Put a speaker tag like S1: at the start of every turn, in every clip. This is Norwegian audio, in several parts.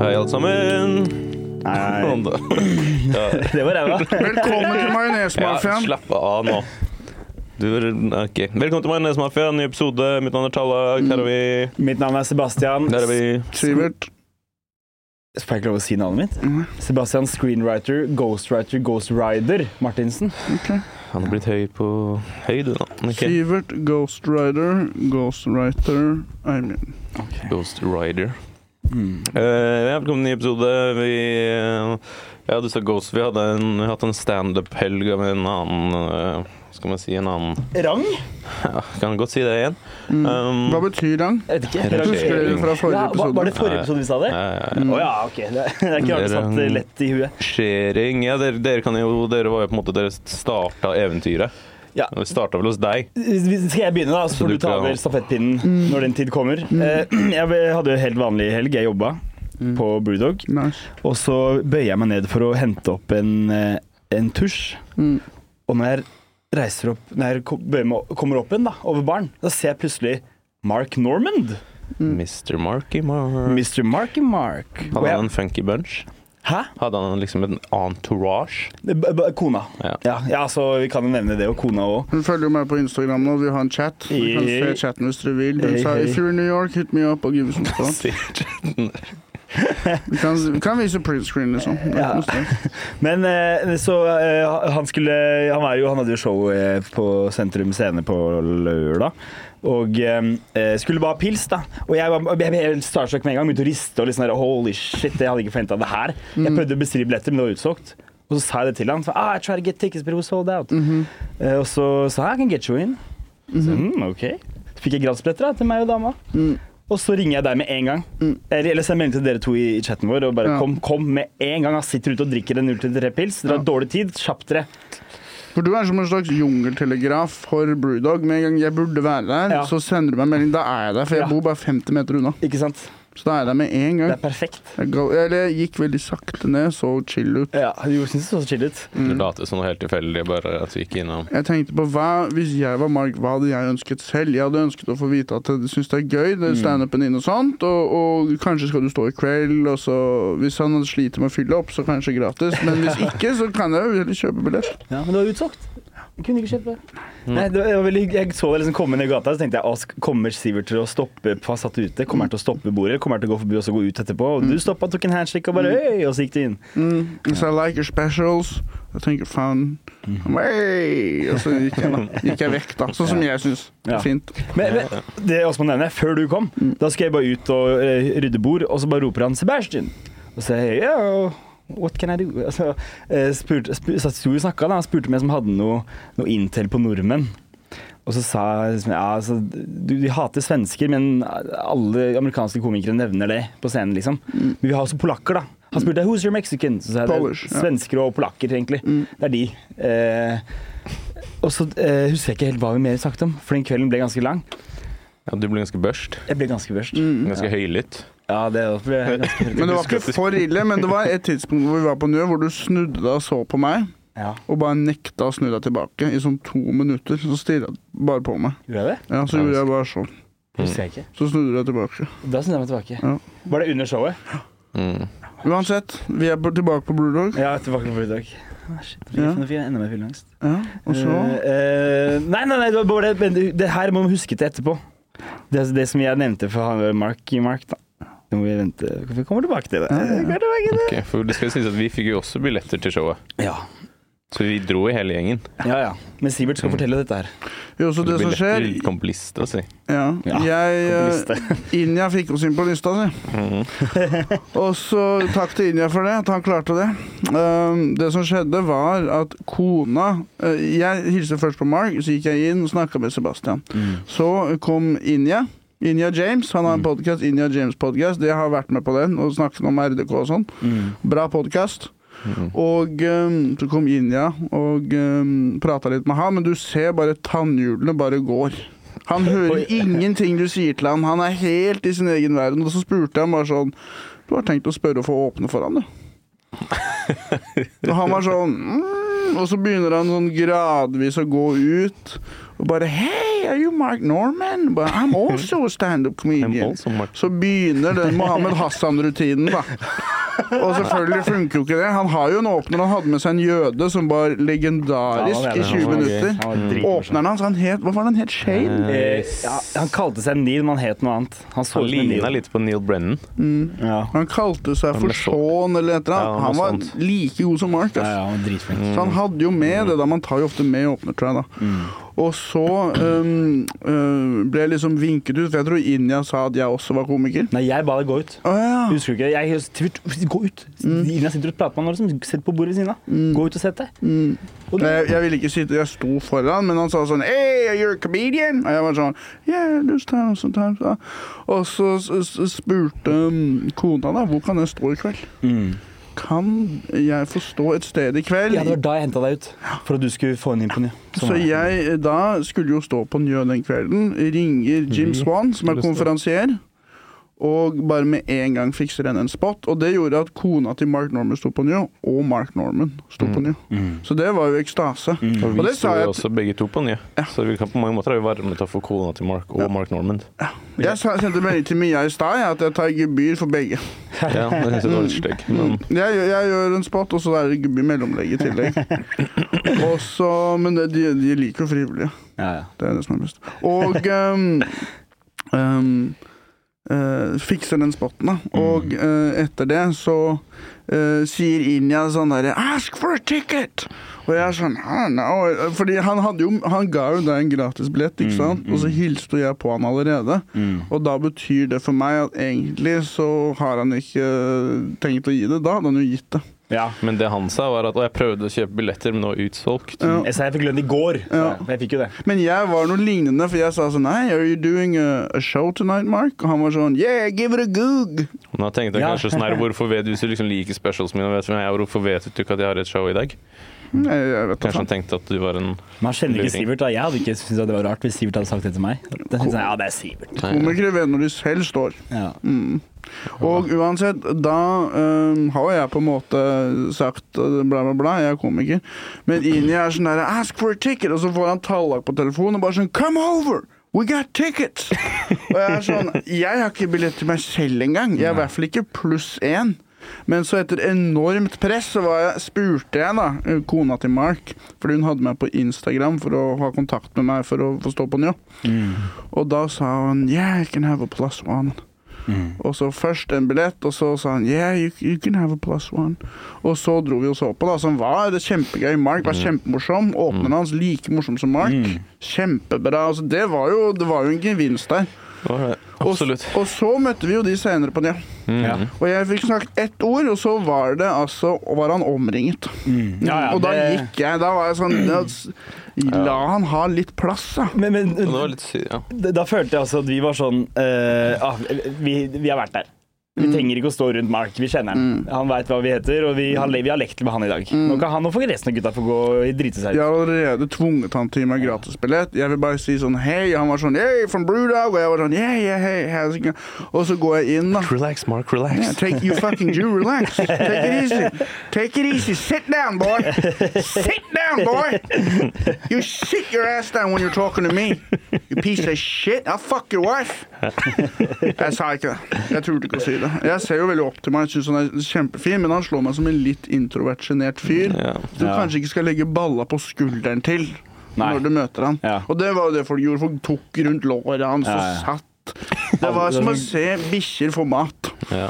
S1: Hei, alle sammen.
S2: Nei, det var ræva.
S3: Velkommen til
S1: Ja,
S3: Majonesmafiaen.
S1: slapp av nå. Du, ok. Velkommen til Majonesmafia, ny episode. Mitt navn er Tallak. Der er vi.
S2: Mitt navn er Sebastian.
S1: Der er vi.
S3: Sivert.
S2: Får jeg ikke lov å si navnet mitt? Sebastian Screenwriter, Ghostwriter, Ghostrider Martinsen.
S1: Han har blitt høy på høy, du, nå. Men Ikke
S3: Sivert Ghost Rider. Ghost Writer Eimin.
S1: Ghost Rider.
S2: Mm.
S1: Eh, ja, velkommen til ny episode. Vi eh, Ja, du sa Ghost. Vi hadde en, vi har hatt en standup-helg med en annen eh, Skal man si en annen
S2: Rang?
S1: ja, Kan godt si det igjen.
S2: Mm.
S1: Um,
S3: Hva betyr den?
S2: Jeg vet ikke.
S1: Rangering.
S3: Husker dere fra forrige
S2: Ja, var, var
S3: episode?
S2: det forrige episode vi sa det? Mm. Å
S1: ja, ja, ja.
S2: ja, ok. Det, det er ikke rart det satt eh, lett i huet.
S1: Rangering. Ja, dere, dere kan jo Dere var jo på en måte Dere starta eventyret.
S2: Ja.
S1: Det starta vel hos deg.
S2: Skal jeg begynne, da? Så
S1: Så
S2: får
S1: du
S2: du ta
S1: kan-
S2: over stafettpinnen når den tid kommer. Eh, Jeg hadde jo helt vanlig helg. Jeg jobba på Brewdog.
S3: Nice.
S2: Og så bøyer jeg meg ned for å hente opp en, eh, en tusj.
S3: Mm.
S2: Og når jeg reiser opp Når jeg ko- bøyer meg, kommer opp igjen da, over baren, da ser jeg plutselig Mark Normand.
S1: Mr. Marky Mark.
S2: Mr. Marky Mark. Og
S1: Hadde han
S2: jeg,
S1: en funky bunch?
S2: hæ?
S1: Hadde han liksom en entourage?
S2: B -b kona.
S1: Ja.
S2: Ja, ja, så vi kan jo nevne det, og kona òg.
S3: Hun følger jo meg på Instagram nå. Vi har en chat. Vi kan
S2: Hei.
S3: se chatten hvis dere vil. Hun sa
S2: Hei, hei.
S3: If you're in New York, hit me up og give me some thoughts.
S1: Sikkert.
S3: Vi kan, vi kan vise print screen, liksom. Det er
S2: Ja.
S3: ikke noe stress.
S2: Men eh, så eh, han skulle han, er jo, han hadde jo show eh, på Sentrum Scene på lørdag. Og eh, skulle bare ha pils, da. Og jeg, var- jeg ble helt starstruck med en gang. Begynte å riste og liksom der, Holy shit, jeg hadde ikke forventa det her. Jeg prøvde å bestille billetter, men det var utsolgt. Og så sa jeg det til han. Så, ah, I try to get tickets, but it was sold out. Eh, og så sa jeg I can get you in. Så, mm, ok. Så fikk jeg gratisbilletter da, til meg og dama. Og så ringer jeg deg med en gang. Eller eller sender melding til dere to i i chatten vår og bare
S3: Ja.
S2: kom, kom med en gang. Han sitter ute og drikker en 0-3-pils. Dere har
S3: Ja.
S2: dårlig tid. Kjapp dere.
S3: For du er som en slags jungeltelegraf for Brewdog. Med en gang jeg burde være der,
S2: Ja.
S3: så sender du meg en melding. Da er jeg der, for jeg
S2: Ja.
S3: bor bare 50 meter unna.
S2: Ikke sant?
S3: Så da er jeg der med en
S2: Det
S3: gang.
S2: er perfekt.
S3: Jeg, ga, eller jeg gikk veldig sakte ned, så chill ut.
S2: Ja, jo, jeg synes det så chill ut.
S1: Det later som noe helt tilfeldig, bare at vi gikk innom.
S3: Jeg tenkte på hva, Hvis jeg var Mark, hva hadde jeg ønsket selv? Jeg hadde ønsket å få vite at du syns det er gøy,
S2: Mm.
S3: det standupen din og sånt, og, og kanskje skal du stå i kveld, og så Hvis han sliter med å fylle opp, så kanskje gratis, men hvis ikke, så kan jeg jo heller kjøpe billett.
S2: Ja, men det var utsolgt. Jeg kunne ikke kjøpe. Nei, det var veldig, hyggelig. jeg så deg liksom komme ned gata, så tenkte jeg «Å, sk- kommer Sivert til å stoppe for Han satt ute. Kommer han til å stoppe bordet? eller Kommer han til å gå forbi og så gå ut etterpå? Og du stoppa, tok en handshake og bare Øy! Og så gikk du inn.
S3: Så I like your specials. Jeg tenker faen Han bare, «Hey!» Og så gikk jeg, da. gikk jeg vekk, da. Sånn som jeg syns.
S2: Mm-hmm. Ja.
S3: Fint.
S2: Men, men det jeg også må nevne, før du kom,
S3: Mm.
S2: da skulle jeg bare ut og eh, rydde bord, og så bare roper han 'Sebastian'. Og så sier jeg «Ja, What can I do? Og så eh, spurte, spurte, så sto vi og snakket, da. Han spurte om jeg som hadde noe, noe Intel på nordmenn. Og så sa jeg liksom, ja, altså, du, de hater svensker, men alle amerikanske komikere nevner det på scenen. liksom. Men vi har også polakker, da. Han spurte who's your Mexican? Så sa jeg
S3: Mm. Polish,
S2: det
S3: ja. Mm.
S2: er svensker og polakker, egentlig. Det er de. Eh, og så eh, husker jeg ikke helt hva vi mer snakket om, for den kvelden ble ganske lang.
S1: Ja, du ble ganske børst.
S2: Jeg ble ganske børst.
S3: Mm.
S1: Ganske høylytt.
S2: Ja, det ble jeg ganske høyt.
S3: Men det var ikke for ille. Men det var et tidspunkt hvor vi var på Njø, hvor du snudde deg og så på meg.
S2: Ja,
S3: og bare nekta å snu deg tilbake i sånn to minutter. Så stirra du bare på meg.
S2: gjorde jeg det?
S3: Ja, Så gjorde jeg bare sånn.
S2: Husker jeg ikke.
S3: Så snudde du deg tilbake.
S2: Da snudde jeg meg tilbake.
S3: Ja.
S2: Var det under showet?
S1: Mm.
S3: Uansett, vi er på, tilbake på Blue Dog.
S2: Ja, tilbake på Bruddag. Ah, shit, jeg
S3: Ja.
S2: finner- jeg ender med fylleangst.
S3: Ja, og så
S2: Eh, eh, nei, nei, nei, det var bare det. Men det, det her må vi huske til etterpå. Det, det som jeg nevnte for han Mark i Mark, da. Det må vi vente. Vi kommer tilbake til det. Vi kommer tilbake til det.
S1: Ok, For det skal sies at vi fikk jo også billetter til showet.
S2: Ja.
S1: Så vi dro i hele gjengen.
S2: Ja, ja. Men Sivert skal fortelle dette her.
S3: Jo, så det som skjer
S1: Billetter kom på liste, altså.
S3: Ja,
S2: Ja,
S3: jeg
S2: kom på
S3: eh, Inja fikk oss inn på lista si. Og så takk til Inja for det, at han klarte det. Um, det som skjedde, var at kona eh, Jeg hilste først på Mark, så gikk jeg inn og snakka med Sebastian. Så kom Inja. Inja James, han har en podkast, Inja James Podcast. Jeg har vært med på den og snakket om RDK og sånn.
S2: Mm.
S3: Bra podkast. Og um, så kom Inja og um, prata litt med han, men du ser bare tannhjulene bare går. Han hører ingenting du sier til han. Han er helt i sin egen verden. Og så spurte jeg han bare sånn Du har tenkt å spørre og få åpne for han, du. Og han var sånn mm, Og så begynner han sånn gradvis å gå ut og bare Hei, are you Mark Norman? But I'm also a stand-up
S1: I'm
S3: comedian.
S1: also Mark-
S3: Så begynner den Mohammed Hassan-rutinen, da. Og selvfølgelig funker jo ikke det. Han har jo en åpner. Han hadde med seg en jøde som var legendarisk
S2: Ja, han er det.
S3: i 20
S2: Han var gøy.
S3: minutter.
S2: Han var dritmorsom.
S3: Åpneren hans, han het Hva var det han het? Shane?
S2: Eh, ja, han kalte seg Neil, men han het noe annet. Han så
S1: Han
S2: ut som en
S1: ligna
S2: Neil.
S1: litt på Neil Brennan.
S2: Ja.
S3: Han kalte seg for
S1: ble så-
S3: Sean eller et eller
S1: Ja,
S3: annet.
S1: noe
S3: Han
S1: sånt.
S3: var like god som Mark.
S2: Ja,
S3: ass.
S2: ja, han var dritflink.
S3: Så han hadde jo med det, da. Man tar jo ofte med åpner, tror jeg. da. Og så øhm, øh, ble jeg liksom vinket ut, for jeg tror Inja sa at jeg også var komiker.
S2: Nei, jeg ba deg gå ut.
S3: Å ja.
S2: Husker du ikke? Jeg Sivert, gå ut!
S3: Mm.
S2: Ina sitter og prater med han, liksom. Sett på bordet ved siden av. Gå ut og sett deg.
S3: Mm.
S2: Og
S3: Nei, Jeg, jeg ville ikke sitte, jeg sto foran, men han sa sånn Hey, you're a comedian? Og jeg var sånn Yeah, there's time sometimes. da." Og så s- s- spurte øhm, kona da, hvor kan jeg stå i kveld?
S2: Mm.
S3: Kan jeg få stå et sted i kveld?
S2: Ja, det var da jeg henta deg ut. For at du skulle få en Sånn inn på ny.
S1: Sånn
S3: Så jeg eh, da skulle jo stå på Njø den kvelden, ringer Jim Swan, som er
S1: Mhm. skulle stå.
S3: konferansier, og bare med en gang fikser henne en spot. Og det gjorde at kona til Mark Norman sto på Njø, og Mark Norman sto på Njø. Så det var jo ekstase.
S1: Mhm. Og
S3: Og
S1: vi
S3: det
S1: sto
S3: sa
S1: jo
S3: jeg
S1: også begge to på nye. Så vi kan på mange måter ha varmet opp for kona til Mark og Mark Norman.
S3: Jeg sa- sendte melding til Mia i stad jeg, at jeg tar gebyr for begge.
S1: Ja, det synes jeg var litt stygg, men
S3: Jeg, gjør- jeg gjør en spot, og så er det gebyr mellomlegg i tillegg. Og så, men det, de, de liker jo frivillige.
S2: Ja, ja.
S3: Det er det som er best. Og ehm, ehm, eh, fikser den spotten, da. Og eh, etter det så eh, sier Inja sånn derre 'Ask for a ticket!' Og jeg er sånn «Ah, no. Fordi han, hadde jo, han ga jo deg en gratisbillett, ikke sant? Og så hilste jeg på han allerede. Og da betyr det for meg at egentlig så har han ikke eh, tenkt å gi det. Da hadde han jo gitt det.
S2: ja.
S1: Men det han sa, var at «Å, jeg prøvde å kjøpe billetter, men det var utsolgt.
S3: Ja.
S2: Jeg sa jeg fikk lønn i går. sa
S3: Ja.
S2: jeg. Jeg fikk jo det.
S3: Men jeg var noe lignende, for jeg sa sånn Hei, are you doing a, a show tonight, Mark? Og han var sånn Yeah, give it a goog!
S1: Nå tenkte jeg
S2: Ja.
S1: kanskje sånn her, hvorfor vet du hvis du liksom liker specials mine, vet du hvem jeg er, hvorfor vet du ikke at jeg har et show i dag?
S3: Nei, jeg vet da
S1: Kanskje
S3: faen.
S1: han tenkte at du var en
S2: Men han kjenner ikke
S1: Luring.
S2: Sivert. da Jeg hadde ikke syntes at det var rart hvis Sivert hadde sagt det til meg. Da synes jeg, ja, det er Sivert.
S3: Komikere vet når de selv står.
S2: Ja.
S3: Mm. Og uansett, da øhm, har jo jeg på en måte sagt øh, bla, bla, bla, jeg er komiker. Men inni er sånn der Ask for a ticket! Og så får han tallak på telefonen og bare sånn Come over! We got tickets! og jeg er sånn Jeg har ikke billett til meg selv engang. Jeg er i hvert fall ikke pluss én. Men så etter enormt press så var jeg, spurte jeg da eh, kona til Mark, fordi hun hadde meg på Instagram for å ha kontakt med meg for å få stå på den, jo. Og da sa hun Yeah, I can have a plus one. Og så først en billett, og så sa han Yeah, you, you can have a plus one. Og så dro vi og så på, da, som var det kjempegøy. Mark var kjempemorsom. Åpneren hans like morsom som Mark. Kjempebra. Altså, det, var jo, det var jo en gevinst der.
S1: Å,
S3: Og,
S1: Absolutt.
S3: og så møtte vi jo de senere på det.
S2: Ja.
S3: Og jeg fikk snakket ett ord, og så var det altså Var han omringet.
S2: Ja, ja,
S3: og da
S2: det-
S3: gikk jeg. Da var jeg sånn ja, s- La han ha litt plass, da.
S2: Men,
S1: Og det
S2: men
S1: var litt sy- ja.
S2: da- da følte jeg altså at vi var sånn eh, ah, vi, vi har vært der. Vi trenger ikke å stå rundt Mark. Vi kjenner han. Han veit hva vi heter, og vi har, vi har lekt med han i dag. Nå kan han og resten av gutta få gå og drite seg
S3: De
S2: ut.
S3: har allerede tvunget han til meg gratisbillett. Jeg vil bare si sånn hei. Han var sånn hey, from Brewdog. Og jeg var sånn yeah, yeah, hey, how's it going? Og så går jeg inn, da.
S1: Relax, Mark, relax.
S3: Yeah, take you fucking Jew, relax. Take it easy. Take it easy. Sit down, boy. Sit down, boy. You sit your ass down when you're talking to me. You piece of shit. I'll fuck your wife. Jeg sa ikke det. Jeg turte ikke å si det. Jeg ser jo veldig opp til meg. Jeg synes han er kjempefin, men han slår meg som en litt introvert, sjenert fyr.
S1: Ja.
S3: Du
S2: Ja.
S3: kanskje ikke skal legge balla på skulderen til
S2: Nei.
S3: når du møter han.
S2: Ja.
S3: Og det var jo det folk gjorde. Folk tok rundt låret hans
S2: Ja,
S3: og
S2: ja.
S3: satt. Det var som å se bikkjer få mat.
S1: Ja.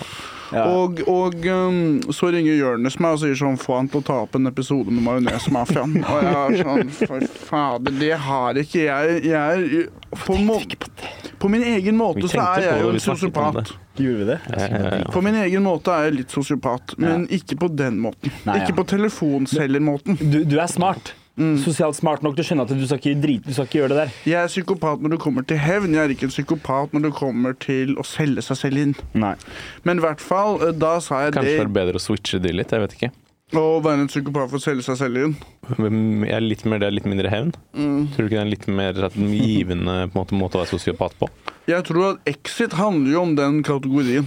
S2: Ja.
S3: Og, og um, så ringer Jonis meg og sier sånn Få han til å ta opp en episode med Majones-mafiaen. og jeg er sånn For fader, det har ikke jeg. Jeg er på, må, på min
S1: Vi
S3: egen måte så
S1: tenkte på
S3: er jeg
S1: det,
S3: jo
S1: vi
S3: en
S1: snakket om
S3: sosiopat.
S2: Gjorde vi det?
S1: Eh,
S3: På min egen måte er jeg litt sosiopat, men ikke på den måten.
S2: Nei, ja.
S3: Ikke på telefonselgermåten.
S2: Du, du er smart. Sosialt smart nok til å skjønne at du skal ikke drite, du skal ikke gjøre det der.
S3: Jeg er psykopat når det kommer til hevn, jeg er ikke en psykopat når det kommer til å selge seg selv inn.
S2: Nei.
S3: Men i hvert fall, eh, da sa jeg
S1: Kanskje det er
S3: det
S1: bedre å switche de litt, jeg vet ikke.
S3: å være en psykopat for å selge seg selv inn.
S1: Men Jeg er litt mer, det er litt mindre hevn. Tror du ikke det er en litt mer rett- givende på en måte, måte å være sosiopat på?
S3: Jeg tror at Exit handler jo om den kategorien.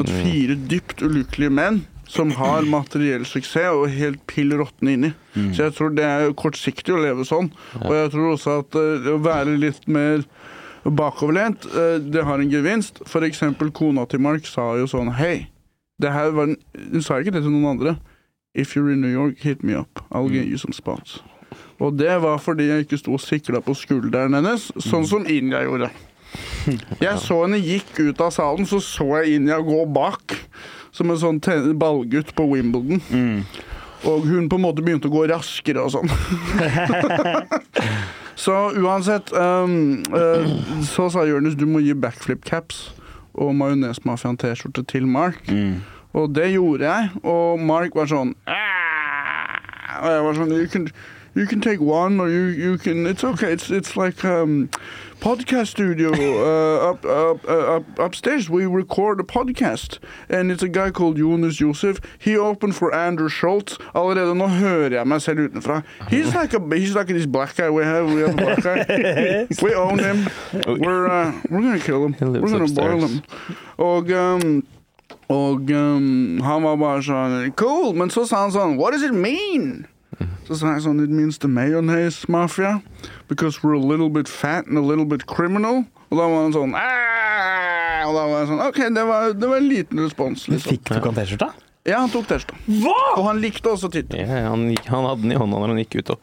S3: At fire dypt ulykkelige menn som har materiell suksess og helt pill råtne inni. Så jeg tror det er jo kortsiktig å leve sånn. Og jeg tror også at eh, å være litt mer bakoverlent, eh, det har en gevinst. For eksempel kona til Mark sa jo sånn Hei, det her var en Hun sa ikke det til noen andre. If you're in New York, hit me up. I'll get you some spots. Og det var fordi jeg ikke sto og sikla på skulderen hennes, sånn som India gjorde. Jeg så henne gikk ut av salen, så så jeg Inja gå bak. Som en sånn ten- ballgutt på Wimbledon. Og hun på en måte begynte å gå raskere og sånn. så uansett um, eh, Så sa Jonis du må gi backflip caps og majonesmafiaen T-skjorte til Mark. Og det gjorde jeg, og Mark var sånn "Ah." Og jeg var sånn You can, you can take one, or you, you can It's okay, it's, it's like um, podcast studio uh, up, up, uh, up, upstairs. We record a podcast, and it's a guy called Jonas Josef. He opened for Andrew Schultz. Allerede nå hører jeg meg selv utenfra. He's like, a, he's like this black guy we have. We have a black guy. We own him. We're, uh, we're gonna kill him.
S1: He lives
S3: We're gonna boil
S1: upstairs.
S3: him. Og... Um, og um, han var bare sånn Cool, men så sa han sånn What does it mean? Så sa jeg sånn It means the mayonnaise mafia Because we're a little bit fat and a little bit criminal Og da var han sånn «Ah!» Og da var jeg sånn Ok, det var, det var en liten respons liksom.
S2: Fikk du ikke en T-skjorte?
S3: Ja, han tok testa
S2: Hva?!
S3: Og han likte også tittelen
S1: Ja, han, gikk- han hadde den i hånda når han gikk ut. Og,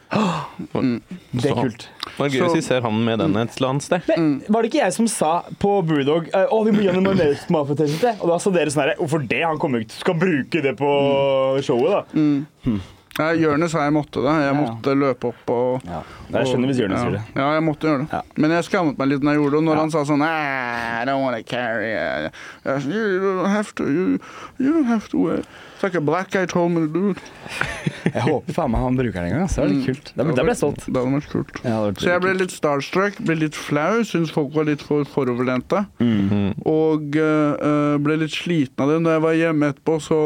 S2: Det er kult.
S1: Det var gøy hvis vi ser han med den et eller annet sted.
S2: Men var det ikke jeg som sa på Brewdog eh, Å, vi må gjøre en Majones-mafiatest? Og da sa dere sånn her Hvorfor det? Han kommer jo ikke Skal bruke det på showet, da.
S3: ja, Jørnes sa jeg måtte det Jeg
S2: Ja.
S3: måtte løpe opp og
S2: Nei, Jeg skjønner hvis Jonis
S3: ja.
S2: gjør det.
S3: Ja, jeg måtte gjøre det.
S2: Ja.
S3: Men jeg skammet meg litt når jeg gjorde det. Når han sa sånn "Ah, I don't wanna carry it." Jeg sa, You don't have to. You, you don't have to wear it." It's like a black guy told me to do it.
S2: Jeg håper faen meg han bruker den en gang. Så er Mm. det kult. Da, da ble jeg stolt.
S3: Det hadde vært kult.
S2: Ja, det hadde vært
S3: Så jeg ble
S2: kult.
S3: litt starstruck, ble litt flau, syntes folk var litt for foroverlente.
S2: Mhm.
S3: Og eh, eh, ble litt sliten av det. Når jeg var hjemme etterpå, så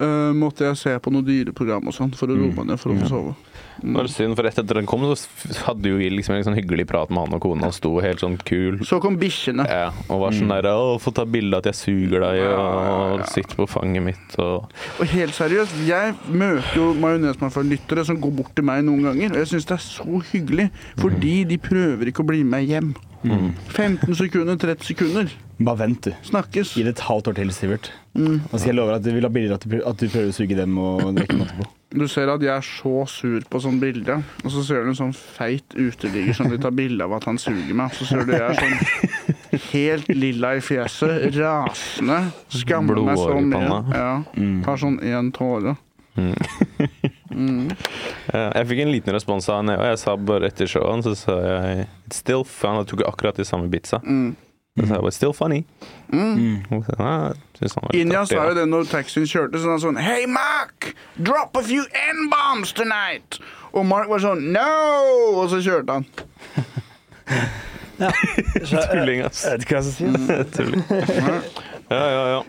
S3: eh, måtte jeg se på noe dyreprogram og sånn
S2: Mm.
S3: for å roe meg ned for å få sove.
S1: Det var synd, for rett etter den kom, så f- hadde jo vi liksom en sånn hyggelig prat med han og kona, og sto helt sånn kul.
S3: Så kom bikkjene.
S1: Ja, og var
S3: Mm.
S1: sånn der Å, få ta bilde av at jeg suger deg, og sitter på fanget mitt, og
S3: Og helt seriøst, jeg møter jo majonesmafia-lyttere som går bort til meg noen ganger, og jeg syns det er så hyggelig, fordi de prøver ikke å bli med hjem. 15 sekunder, 30 sekunder.
S2: Bare vent, du.
S3: Snakkes.
S2: Gi det et halvt år til, Sivert. Og så skal jeg love deg at du vil ha bilder at du prøver, at du prøver å suge dem og drikke mat på.
S3: Du ser at jeg er så sur på sånn bilde, og så ser du en sånn feit uteligger som de tar bilde av at han suger meg, og så ser du jeg er sånn helt lilla i fjeset, rasende, skammer meg
S1: Blodåre i
S3: så mye.
S1: panna.
S3: Ja, har sånn én tåre.
S1: Eh, Jeg fikk en liten respons av henne, og jeg sa bare etter showet så sa jeg It's still fun. Han tok akkurat de samme beatsa.
S3: Mm.
S1: Så sa jeg bare Still funny. Og
S2: Mm.
S1: så, ah, synes han var litt
S3: Inja
S1: artig,
S3: Mm. sa
S1: ja.
S3: jo det når taxien kjørte, så sa han sånn Hey Mark, drop a few N-bombs tonight! Og Mark var sånn No! Og så kjørte han.
S1: Tulling, ass.
S2: vet ikke hva jeg skal si.
S1: Tulling. Ja, ja, ja.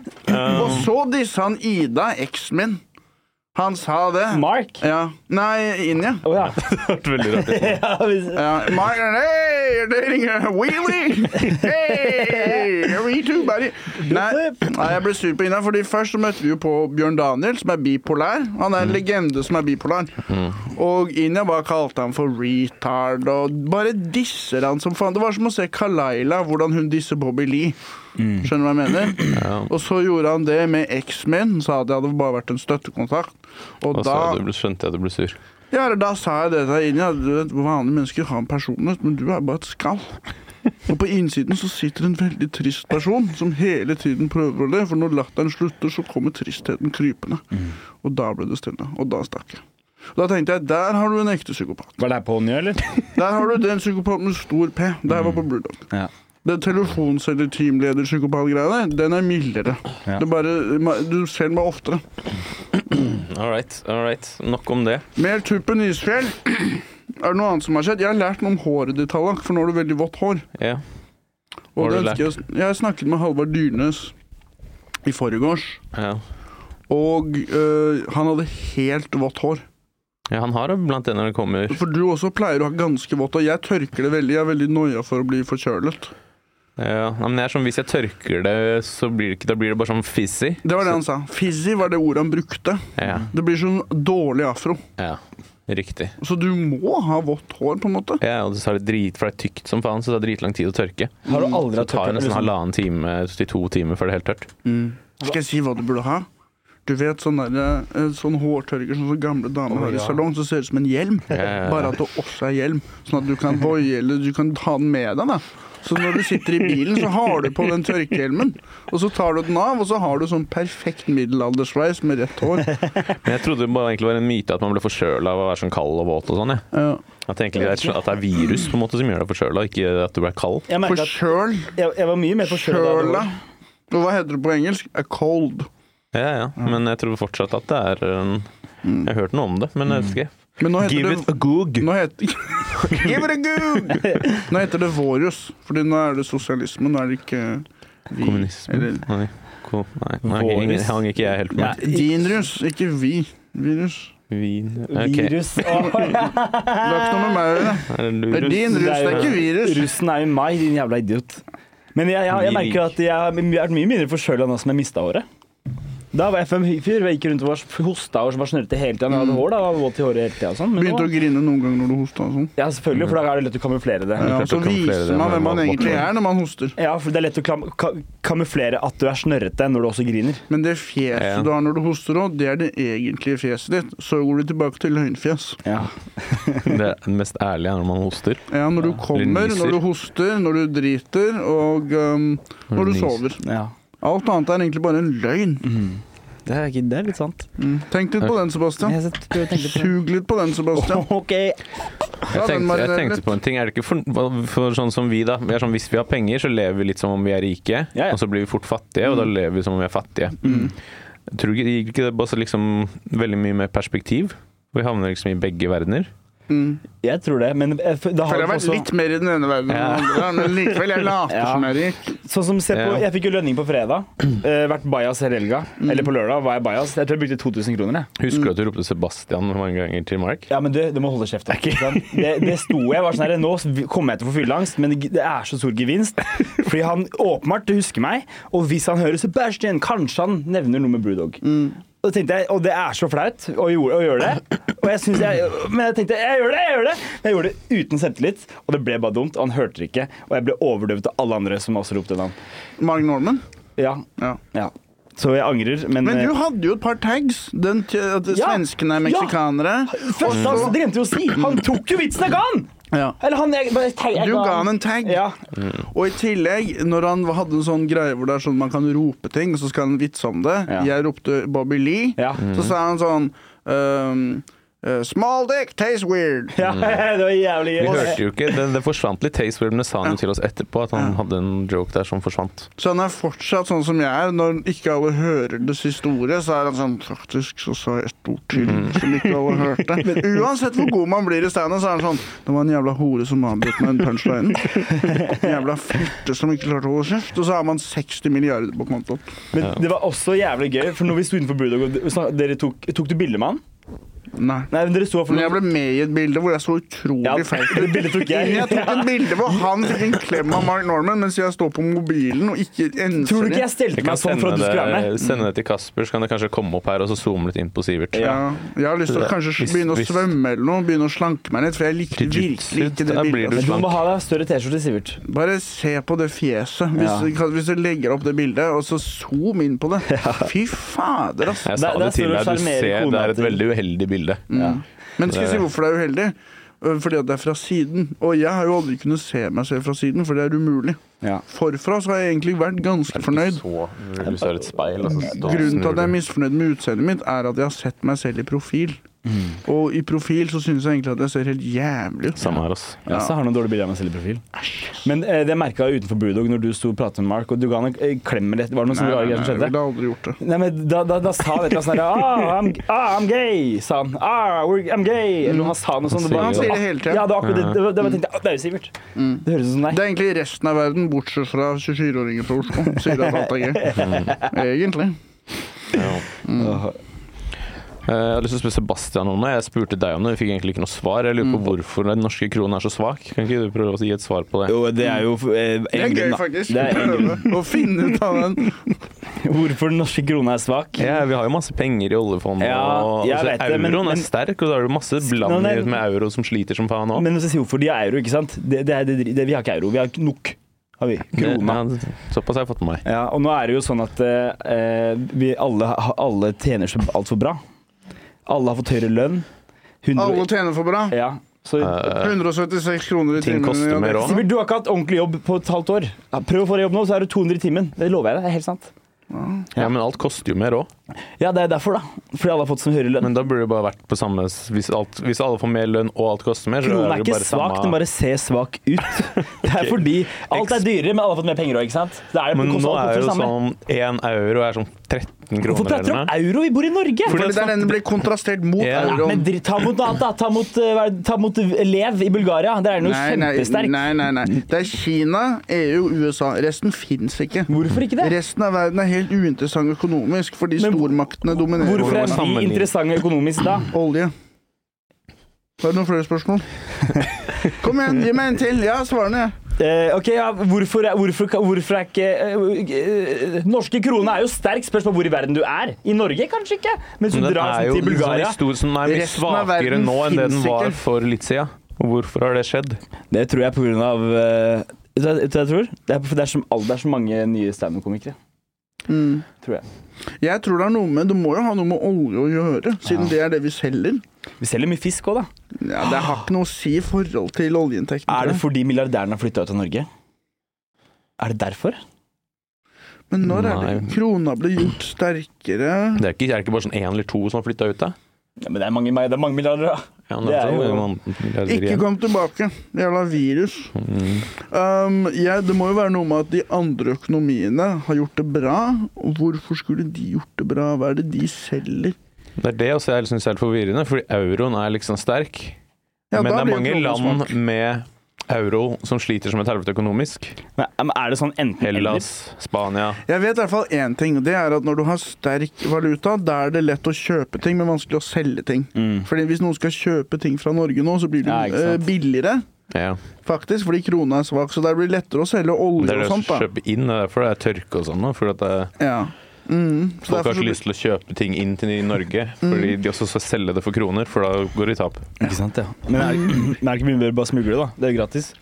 S3: Og så dissa han Ida, eksen min. Han sa det.
S2: Mark?
S3: Ja. Nei, Inja.
S2: Å ja.
S1: Det ble veldig rart.
S2: ja hvis,
S3: Ja, Mark Hey, you're dating a wheelie! Hey, me too, buddy! Nei, nei, jeg ble sur på Ina, fordi først så møtte vi jo på Bjørn Daniel, som er bipolær. Han er en legende som er bipolar. Og Ina bare kalte han for retard, og bare disser han som faen. Det var som å se Kalaila, hvordan hun disser Bobby Lee. Skjønner du hva jeg mener? Og så gjorde han det med eksen min, sa at jeg hadde bare vært en støttekontakt.
S1: Og
S3: Og,
S1: så
S3: da
S1: du ble- skjønte jeg at du ble sur.
S3: ja, eller da sa jeg det til deg inni at du vet, vanlige mennesker har en personlighet, men du er bare et skall. Og på innsiden så sitter en veldig trist person som hele tiden prøver å le, for når latteren slutter, så kommer tristheten krypende. Og da ble det stille. Og da stakk jeg. Og Da tenkte jeg der har du en ekte psykopat.
S2: Var det her på Njø, eller?
S3: Der har du den psykopaten med stor P. Der var på Bulldog.
S2: Ja.
S3: Den telefonselger-teamleder-psykopat-greia der, den er mildere.
S2: Ja.
S3: Det er bare, du ser den bare oftere.
S1: All right, all right. Nok om det.
S3: Mer tuppen isfjell. Er det noe annet som har skjedd? Jeg har lært noe om håret ditt, Tallak, for nå har du veldig vått hår.
S1: Ja. Hva
S3: Og
S1: har
S3: det
S1: du
S3: ønsker jeg, å- jeg snakket med Halvard Dyrnes i forgårs,
S1: Ja.
S3: og øh, han hadde helt vått hår.
S1: ja, han har det blant det når det kommer.
S3: For du også pleier å ha ganske vått, og jeg tørker det veldig. Jeg er veldig noia for å bli forkjølet.
S1: Ja, men jeg er sånn, hvis jeg tørker det, så blir det ikke Da blir det bare sånn fizzy.
S3: Det var det han sa. Fizzy var det ordet han brukte.
S1: Ja,
S3: Det blir sånn dårlig afro.
S1: ja. Riktig.
S3: Så du må ha vått hår, på en måte.
S1: Ja, og så er det drit, for det er tykt som faen, så det tar dritlang tid å tørke.
S2: Har du aldri
S1: Det
S2: hatt
S1: tar jo
S2: tørt
S1: nesten
S2: liksom?
S1: halvannen time til to timer før det er helt tørt.
S3: Skal jeg si hva du burde ha? Du vet sånn, der, eh, sånn hårtørker som sånn gamle damer har i salong, som ser ut som en hjelm.
S1: ja, ja.
S3: Bare at det også er hjelm, sånn at du kan voie eller du kan ta den med deg. da. Så når du sitter i bilen, så har du på den tørkehjelmen. Og så tar du den av, og så har du sånn perfekt middelaldersveis med rett hår.
S1: Men jeg trodde det bare egentlig var en myte at man ble forkjøla av å være sånn kald og våt og sånn. jeg.
S3: Ja.
S1: At, det egentlig er, at det er virus på en måte som gjør deg forkjøla, ikke at du ble kald.
S2: Jeg merket at
S3: Forkjøl.
S2: jeg, jeg var mye mer forkjøla. da jeg var-
S3: Kjøla. Og hva heter det på engelsk? A cold.
S1: Ja, ja, men jeg tror fortsatt at det er en Jeg har hørt noe om det, men jeg vet ikke.
S3: Men nå
S1: Give
S3: heter
S1: it a
S3: det
S1: goog.
S3: nå heter, Give it a goog! Nå heter det Vårus, Fordi nå er det sosialisme. Nå er det ikke vi,
S1: Kommunismen?
S3: eller-
S1: Nei. Ko- Nei, nei hang-
S2: Våris.
S1: hang ikke jeg helt med.
S3: Din rus, ikke vi. Virus.
S1: Vin ok.
S2: Virus. Å, ja.
S3: Det har ikke noe med meg å gjøre.
S1: Er det
S3: Det er
S1: lurus?
S3: din rus, det er ikke virus.
S2: Russen er jo meg, din jævla idiot. Men jeg, jeg, jeg merker at jeg har vært mye mindre forkjøla nå som jeg mista håret. Da var jeg FM-fyr. Jeg gikk rundt og var hosta og var snørrete hele tida. Jeg hadde hår da, og var våt i håret hele tida. og Sånn. Men
S3: Begynte å
S2: nå,
S3: grine noen ganger når du hosta og sånn.
S2: ja, selvfølgelig, for da er det lett å kamuflere det.
S3: Ja,
S1: klarte
S3: så
S1: å kamuflere
S3: viser
S1: det
S3: man
S1: med
S3: hvem man
S1: mat-
S3: egentlig er når man hoster.
S2: Ja, for Det er lett å klam ka kamuflere at du er snørrete når du også griner.
S3: Men det
S1: Ja, ja.
S3: fjeset du har når du hoster òg, det er det egentlige fjeset ditt. Så går du tilbake til løgnfjes.
S2: Ja.
S1: Det er den mest ærlige er når man hoster.
S3: Ja, når du kommer,
S1: nyser.
S3: når du hoster, når du driter og um,
S1: Når du
S3: når du
S1: nyser. Mm.
S3: sover.
S2: ja.
S3: Alt annet er egentlig bare en løgn.
S2: Det, er, ikke- det er litt sant.
S3: Mm. Tenk litt på den, Sebastian.
S2: Jeg sitter- prøver å tenke på det.
S3: Sug litt på den, Sebastian.
S2: OK.
S1: Jeg
S3: Ja, den
S1: tenkte, jeg
S3: mariner
S1: tenkte
S3: litt.
S1: på en ting. Er det ikke for, hva- for sånn som vi, da? Vi er sånn, hvis vi har penger, så lever vi litt som om vi er rike.
S2: Ja, ja.
S1: Og så blir vi fort fattige, og da
S2: Mm.
S1: lever vi som om vi er fattige. Tror du ikke, gir ikke det bare så liksom veldig mye mer perspektiv? Vi havner liksom i begge verdener.
S3: Mm.
S2: Jeg tror det, men eh, for- da har
S3: Føler jeg
S2: vi
S3: har vært
S2: også-
S3: litt mer i den ene verden enn
S1: Ja.
S3: den andre, men likevel, jeg later
S2: Ja.
S3: som jeg er rik.
S2: Sånn som se på,
S1: Ja.
S2: Jeg fikk jo lønning på fredag. Eh, vært bajas hele helga.
S3: Mm.
S2: Eller på lørdag var jeg bajas. Jeg tror jeg brukte 2000 kroner. jeg.
S1: Husker du at du ropte Sebastian mange ganger til Mark?
S2: Ja, men du, du må holde kjeft. da, ikke sant? Det, det sto jeg var sånn her, Nå kommer jeg til å få fylleangst, men det er så stor gevinst. Fordi han åpenbart husker meg, og hvis han hører Sebastian, kanskje han nevner noe med Brewdog. Og da tenkte jeg, og det er så flaut å, gjøre, å gjøre det. Og jeg synes jeg, men jeg tenkte jeg gjør det, jeg gjør det. Men jeg gjorde det uten selvtillit, og det ble bare dumt. Og han hørte det ikke, og jeg ble overdøvet av alle andre som også ropte navn.
S3: Marg Norman?
S2: Ja,
S3: Ja.
S2: Ja. Så jeg angrer, men, eh,
S3: Men du hadde jo et par tags. Den t at
S2: Ja.
S3: svenskene er meksikanere.
S2: Først, altså, Det glemte jeg å si! Han tok jo vitsen jeg ga han!
S3: Ja.
S2: Eller han jeg, bare, jeg, jeg
S3: Du ga han en tag.
S2: Ja.
S1: Mm.
S3: Og i tillegg, når han hadde en sånn greie hvor det er sånn man kan rope ting, og så skal han vitse om det.
S2: Ja.
S3: Jeg ropte Bobby Lee.
S2: Ja.
S3: Så sa han sånn um, eh, Small dick tastes weird.
S2: ja, det var jævlig
S1: Vi
S2: gøy.
S1: hørte jo ikke, Det, det forsvant litt. Taste Web, men det sa han jo til oss etterpå at han hadde en joke der som forsvant.
S3: Så han er fortsatt sånn som jeg er. Når ikke alle hører det siste ordet, så er han sånn Faktisk så sa jeg et ord til
S2: Mm.
S3: som ikke alle hørte. Men uansett hvor god man blir i standup, så er han sånn Det var en jævla hore som avbrøt meg en punchline. En jævla fitte som ikke klarte å holde kjeft. Og så har man 60 milliarder på kontoen.
S2: Men det var også jævlig gøy, for når vi sto innenfor Brewdog, og snak- dere tok, tok du bilde med han?
S3: Nei.
S2: Nei, men dere sto for
S3: Men jeg ble med i et bilde hvor jeg så utrolig
S2: Ja,
S3: feit
S2: det bildet tok jeg.
S3: Jeg tok et bilde hvor han fikk en klem av Mark Norman mens jeg står på mobilen og ikke enser
S2: Tror du ikke jeg
S1: Jeg
S2: stelte
S1: kan
S2: meg sånn
S1: sende
S2: for at du skulle være med?
S1: det, sende det til Kasper, så kan det kanskje komme opp her og så zoome litt inn på Sivert.
S3: Ja. Jeg har lyst til å kanskje
S1: Hvis-
S3: begynne å
S1: hvis-
S3: svømme eller noe, begynne å slanke meg litt, for jeg likte
S1: Jiu-jitsu,
S3: virkelig ikke det
S1: da blir
S3: bildet.
S1: du
S3: altså.
S2: Men du må ha deg større T-skjorte, Sivert.
S3: Bare se på det fjeset. Hvis,
S2: Ja.
S3: kan- hvis du legger opp det bildet, og så zoom inn på det. Fy fader, altså.
S1: Jeg sa
S3: ass.
S2: Der-
S1: det
S2: der
S1: til deg,
S2: står det å
S1: du
S2: sjarmere
S1: ser
S2: kona
S1: det er et
S2: til-
S3: Mm.
S1: veldig uheldig bilde.
S2: Ja.
S3: Men skal jeg si hvorfor det er uheldig? øh, fordi at det er fra siden. Og jeg har jo aldri kunnet se meg selv fra siden, for det er umulig.
S2: Ja.
S3: Forfra så har jeg egentlig vært ganske fornøyd.
S1: Så, du ser et speil, altså, og så står
S3: Grunnen til at jeg er misfornøyd med utseendet mitt, er at jeg har sett meg selv i profil.
S1: Mm.
S3: Og i profil så synes jeg egentlig at jeg ser helt jævlig ut.
S1: Samme her, altså. ass.
S2: Jeg også har noen dårlige bilder av meg selv i profil. Men eh, det merka jeg utenfor Bulldog når du sto og pratet med Mark, og du ga han en eh, klem rett Var det noe
S3: Nei,
S2: som
S3: nei,
S2: rare
S3: nei,
S2: greier
S3: jeg
S2: som skjedde?
S3: ville aldri gjort det.
S2: Nei, men da, da, da sa han et eller annet sånn her ah, I'm, ah, I'm gay, sa han. Ah, we're, I'm gay. Eller han sa noe sånt. det var-
S1: Han sier
S3: det hele tiden. Mm.
S2: Ja, det var akkurat det. Det, var- det, var- jeg tenkte, ah, det er jo Sivert. Det høres ut som deg.
S3: Det er egentlig resten av verden, bortsett fra 24-åringer fra Oslo, sier at alt er gøy.
S2: Mm.
S3: Egentlig.
S2: Åh.
S1: Eh, Jeg hadde lyst til å spørre Sebastian om det. Jeg spurte deg om det, vi fikk egentlig ikke noe svar. Jeg lurer på hvorfor den norske kronen er så svak. Kan ikke du prøve å gi et svar på det?
S2: Jo, det er jo eh, en
S3: Det er
S2: grunn,
S3: gøy,
S2: da.
S3: faktisk.
S2: Det er en grunn.
S3: Prøve å finne ut av den.
S2: Hvorfor den norske krona er svak?
S1: Ja, vi har jo masse penger i oljefondet,
S2: Ja,
S1: og
S2: jeg
S1: altså,
S2: vet det,
S1: euroen
S2: men- men-
S1: er sterk, og da er det masse
S2: Nå,
S1: land
S2: nei,
S1: i- med euro som sliter som faen òg.
S2: Men hvis jeg sier hvorfor de er euro, ikke sant? Det, det er, det, det, vi har ikke euro, vi har ikke nok. Har vi. Krona.
S1: Såpass har jeg fått med meg.
S2: Ja, og nå er det jo sånn at eh, vi alle, ha- alle tjener så altfor bra. Alle har fått høyere lønn. 100
S3: Alle tjener for bra.
S2: Ja, så
S1: Eh,
S3: 176 kroner i
S1: ting
S3: timen.
S1: koster
S3: ja,
S1: mer
S3: det-
S1: også.
S2: Sivert, du har ikke hatt ordentlig jobb på et halvt år. Ja, Prøv å få deg jobb nå, så er du 200 i timen. Det lover jeg deg. Det er helt sant.
S1: ja, men alt koster jo mer òg.
S2: Ja, det er derfor, da. Fordi alle har fått så høyere lønn.
S1: Men da burde det bare vært på samme s- Hvis, alt, hvis alle får mer lønn og alt koster mer, så
S2: Kronen er
S1: det
S2: ikke
S1: bare
S2: svak, den
S1: samme
S2: bare ser svak ut. Det er fordi alt er dyrere, men alle har fått mer penger òg, ikke sant? Det er det
S1: Men nå
S2: konstant
S1: er jo
S2: det samme.
S1: sånn én euro er sånn 13 kroner
S2: Hvorfor prater du om
S1: noe.
S2: euro? Vi bor i Norge!
S1: Fordi
S3: Fordi det er den blir kontrastert mot
S1: Ja.
S2: Ja, men
S3: euroen.
S2: dri- ta mot noe annet, da. Ta mot, eh, hva er det- ta mot Lev i Bulgaria. Der er den jo
S3: Nei, nei,
S2: kjempesterk.
S3: nei, nei, nei. Det er Kina, E EU, USA. Resten fins ikke.
S2: Hvorfor ikke det?
S3: Resten av verden er helt uinteressant økonomisk fordi
S2: Men hvor-
S3: stormaktene dominerer.
S2: Hvorfor
S1: Hvordan
S2: er vi
S1: sammenligner-
S2: interessante økonomisk da?
S3: Olje. Har du noen flere spørsmål? Kom igjen, gi meg en til. Ja, svarene.
S2: Eh, ok, ja, hvorfor, er- hvorfor, hvorfor er ikke eh, eh, Norske krone er jo sterk. Spørs på hvor i verden du er. I Norge kanskje ikke, mens du
S1: Men den
S2: drar
S1: er jo
S2: til Bulgaria.
S1: sånn stor som er mye
S3: Resten
S1: svakere
S3: av verden
S1: nå enn det den
S3: finnes
S1: var
S3: ikke.
S1: for litt siden. Og Hvorfor har det skjedd?
S2: Det tror jeg på grunn av eh, Vet du hva vet du hva jeg tror? Det er, for det, er så, det er så mange nye standup-komikere.
S3: Mm.
S2: Tror jeg.
S3: Jeg tror det er noe med Det må jo ha noe med olje å gjøre, siden det er det vi selger.
S2: Vi selger mye fisk òg, da.
S3: Ja, det har ikke noe å si i forhold til oljeinntekten.
S2: Er det
S3: tror jeg.
S2: fordi milliardærene har flytta ut av Norge? Er det derfor?
S3: Men når er det
S1: Nei.
S3: krona ble gjort sterkere?
S1: Det er ikke, er det ikke bare sånn én eller to som har flytta ut, da?
S2: Ja, men det er mange, det er mange milliarder, da.
S1: Ja, altså,
S2: Det er jo-
S3: Ikke kom tilbake. Jævla virus.
S1: Mm.
S3: Um, ja, det må jo være noe med at de andre økonomiene har gjort det bra. Og hvorfor skulle de gjort det bra? Hva er det de selger?
S1: Det er det også jeg syns er helt forvirrende, fordi euroen er liksom sterk.
S3: Ja,
S1: men det
S3: da
S1: er
S3: blir
S1: mange
S3: kronen
S1: land
S3: svak.
S1: med euro som sliter som et helvete økonomisk.
S2: Men, men er det sånn enten eller?
S1: Hellas, Spania
S3: Jeg vet i hvert fall én ting. og Det er at når du har sterk valuta, da er det lett å kjøpe ting, men vanskelig å selge ting.
S1: Mm.
S3: Fordi hvis noen skal kjøpe ting fra Norge nå, så blir det
S2: Ja, ikke sant.
S3: eh, billigere.
S1: ja.
S3: Faktisk, fordi krona er svak, så der blir det lettere å selge olje
S1: Det er det
S3: og
S1: å
S3: sånt. da.
S1: kjøpe inn, det er derfor det er tørke og sånn. nå, Fordi at det,
S3: Ja. Mm. så
S1: folk
S3: derfor
S1: har
S3: så
S1: ikke
S3: blir-
S1: lyst til å kjøpe ting inn til Norge, fordi de også skal selge det for kroner, for da går de i tap.
S2: Ikke sant, ja. Men er, men er det ikke mye bedre å bare smugle, da? Det er jo gratis.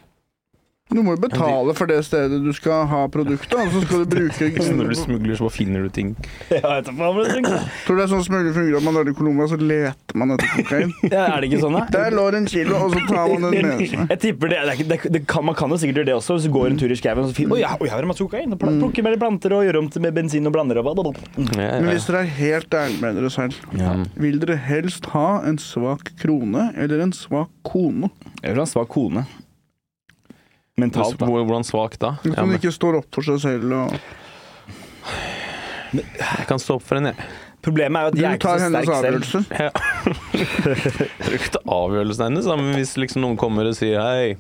S3: Du må jo betale for det stedet du skal ha produktet, og så skal du bruke
S1: Så når du smugler, så bare finner du ting.
S2: Ja, jeg tar faen meg det.
S3: Tror du det er sånn smugling fungerer at man drar til Colombia, så leter man etter kokain?
S2: Ja, er det ikke sånn, da?
S3: Der lå det en kilo, og så tar man den med seg.
S2: Jeg tipper det, det, er ikke- det, er ikke- det kan, Man kan jo sikkert gjøre det også. Hvis du går en tur i skauen og så finner Oi, ja, oi, her er det masse kokain. og pla-
S3: Mm.
S2: Plukker mer planter og gjør om til med bensin og blander og hva da, da.
S3: Men hvis dere er helt ærlige med dere selv, vil dere helst ha en svak krone eller en svak kone?
S2: Jeg vil ha en svak kone. Mentalt, da.
S1: Hvor- Hvordan svak da?
S3: Hvis
S1: Ja,
S3: man
S1: men
S3: ikke står opp for seg selv og
S1: jeg kan stå opp for henne, jeg.
S2: Problemet er jo at
S3: Du
S2: jeg er ikke
S3: tar
S2: så
S3: hennes
S2: sterk selv.
S3: avgjørelse.
S1: Det er jo ikke til avgjørelsen hennes, da, men hvis liksom noen kommer og sier hei,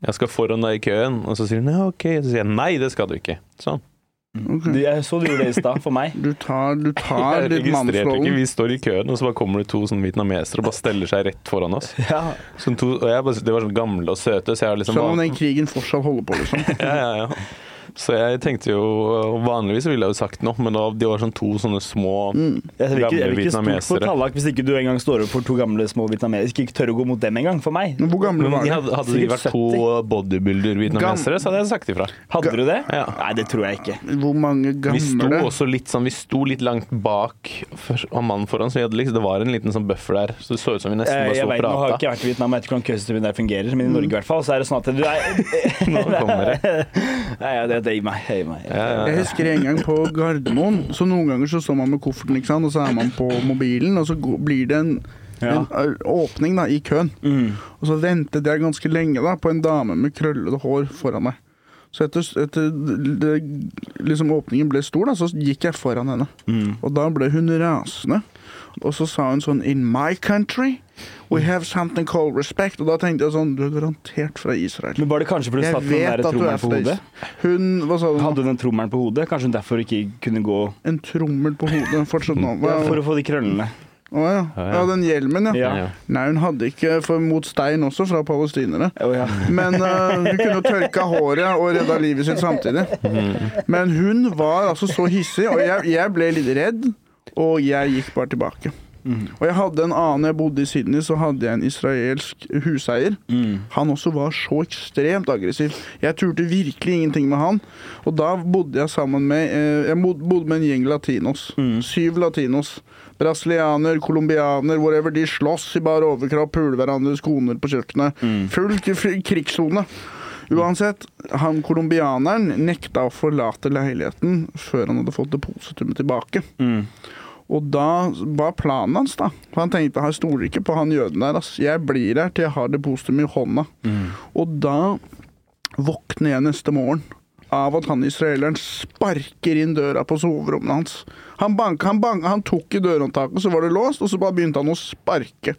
S1: jeg skal foran deg i køen, og så sier hun ja, ok, så sier jeg nei, det skal du ikke. Sånn.
S3: Ok.
S2: Du, jeg så du gjorde det i stad, for meg.
S3: Du tar, du
S1: Jeg
S3: tar litt
S1: registrerte ikke,
S3: mannsrollen.
S1: vi står i køen, og så bare kommer det to sånn vietnamesere og bare steller seg rett foran oss.
S2: Ja.
S1: Sånn to, og jeg bare, de var sånn gamle og søte, så jeg har liksom
S3: Selv om
S1: bare,
S3: den krigen fortsatt holder på, liksom.
S1: ja, ja, ja. Så jeg tenkte jo Vanligvis ville jeg jo sagt noe, men da, de var sånn to sånne små
S2: Jeg vil ikke,
S1: gamle
S2: jeg vil ikke stole på
S1: vietnamesere.
S2: Tallak hvis ikke du engang står opp for to gamle små vietnamesere. Ikke tør å gå mot dem engang, for meg.
S3: Men hvor gamle
S1: Men
S3: var
S1: de
S3: de?
S1: hadde, hadde de
S2: Sikkert
S1: vært to bodybuilder-vietnamesere, så hadde jeg sagt ifra.
S2: Hadde du det?
S1: Ja.
S2: Nei, det tror jeg ikke.
S3: Hvor mange
S1: Vi sto
S3: gamle?
S1: også litt sånn, vi sto litt langt bak for, og mannen foran, så vi hadde liksom, det var en liten sånn buffer der. Så det så ut som vi nesten
S2: Eh,
S1: bare
S2: Jeg
S1: sto og
S2: vet, nå har
S1: prata.
S2: jeg ikke vært i Vietnam, jeg vet ikke hvordan køsystemet der fungerer, men i Norge i hvert fall, så er det sånn at du er
S1: Nå kommer det.
S2: Nei, ja, det, det gir meg. Det gir meg.
S1: Ja, ja,
S3: Jeg
S1: ja.
S3: husker en gang på Gardermoen. Så noen ganger så står man med kofferten, ikke sant? og så er man på mobilen, og så gå- blir det en,
S2: Ja.
S3: en ø, åpning da, i køen.
S2: Mm.
S3: Og så ventet jeg ganske lenge da, på en dame med krøllete hår foran meg. Så etter, etter det, liksom åpningen ble stor, da, så gikk jeg foran henne.
S2: Mm.
S3: Og da ble hun rasende. Og så sa hun sånn In my country we have something called respect. Og da tenkte jeg sånn Du er garantert fra Israel.
S2: Men var det kanskje fordi hun
S3: Jeg
S2: satt med den
S3: vet
S2: der
S3: at du er
S2: trommelen på
S3: fra
S2: hodet?
S3: Israel. Hun Hva sa du? nå?
S2: Hadde hun den trommelen på hodet? Kanskje hun derfor ikke kunne gå
S3: En trommel på hodet. Fortsett nå. Hva?
S2: For å få de krøllene.
S3: Å ja.
S1: Ja, ja.
S3: ja, den hjelmen, ja.
S2: Ja.
S1: Ja.
S3: Nei, hun hadde ikke, for mot stein også, fra palestinere.
S2: Å ja.
S3: Men eh, hun kunne tørka håret og redda livet sitt samtidig. Men hun var altså så hissig, og jeg, jeg ble litt redd, og jeg gikk bare tilbake. Og jeg hadde en annen, jeg bodde i Sydney, så hadde jeg en israelsk huseier.
S2: Mm.
S3: Han også var så ekstremt aggressiv. Jeg turte virkelig ingenting med han. Og da bodde jeg sammen med eh, Jeg bod- bodde med en gjeng latinos. Syv latinos. Brasilianer, colombianer, whatever. De slåss i bar overkropp, puler hverandres koner på kjøkkenet. Full k- f- krigssone. Uansett, han colombianeren nekta å forlate leiligheten før han hadde fått depositumet tilbake.
S2: Mm.
S3: Og da var planen hans, da. For han tenkte han stoler ikke på han jøden der. Ass. Jeg blir her til jeg har depositum i hånda. Og da våkner jeg neste morgen av at han israeleren sparker inn døra på soverommet hans. Han, banka, han, banka, han tok i dørhåndtaket, så var det låst, og så bare begynte han å sparke.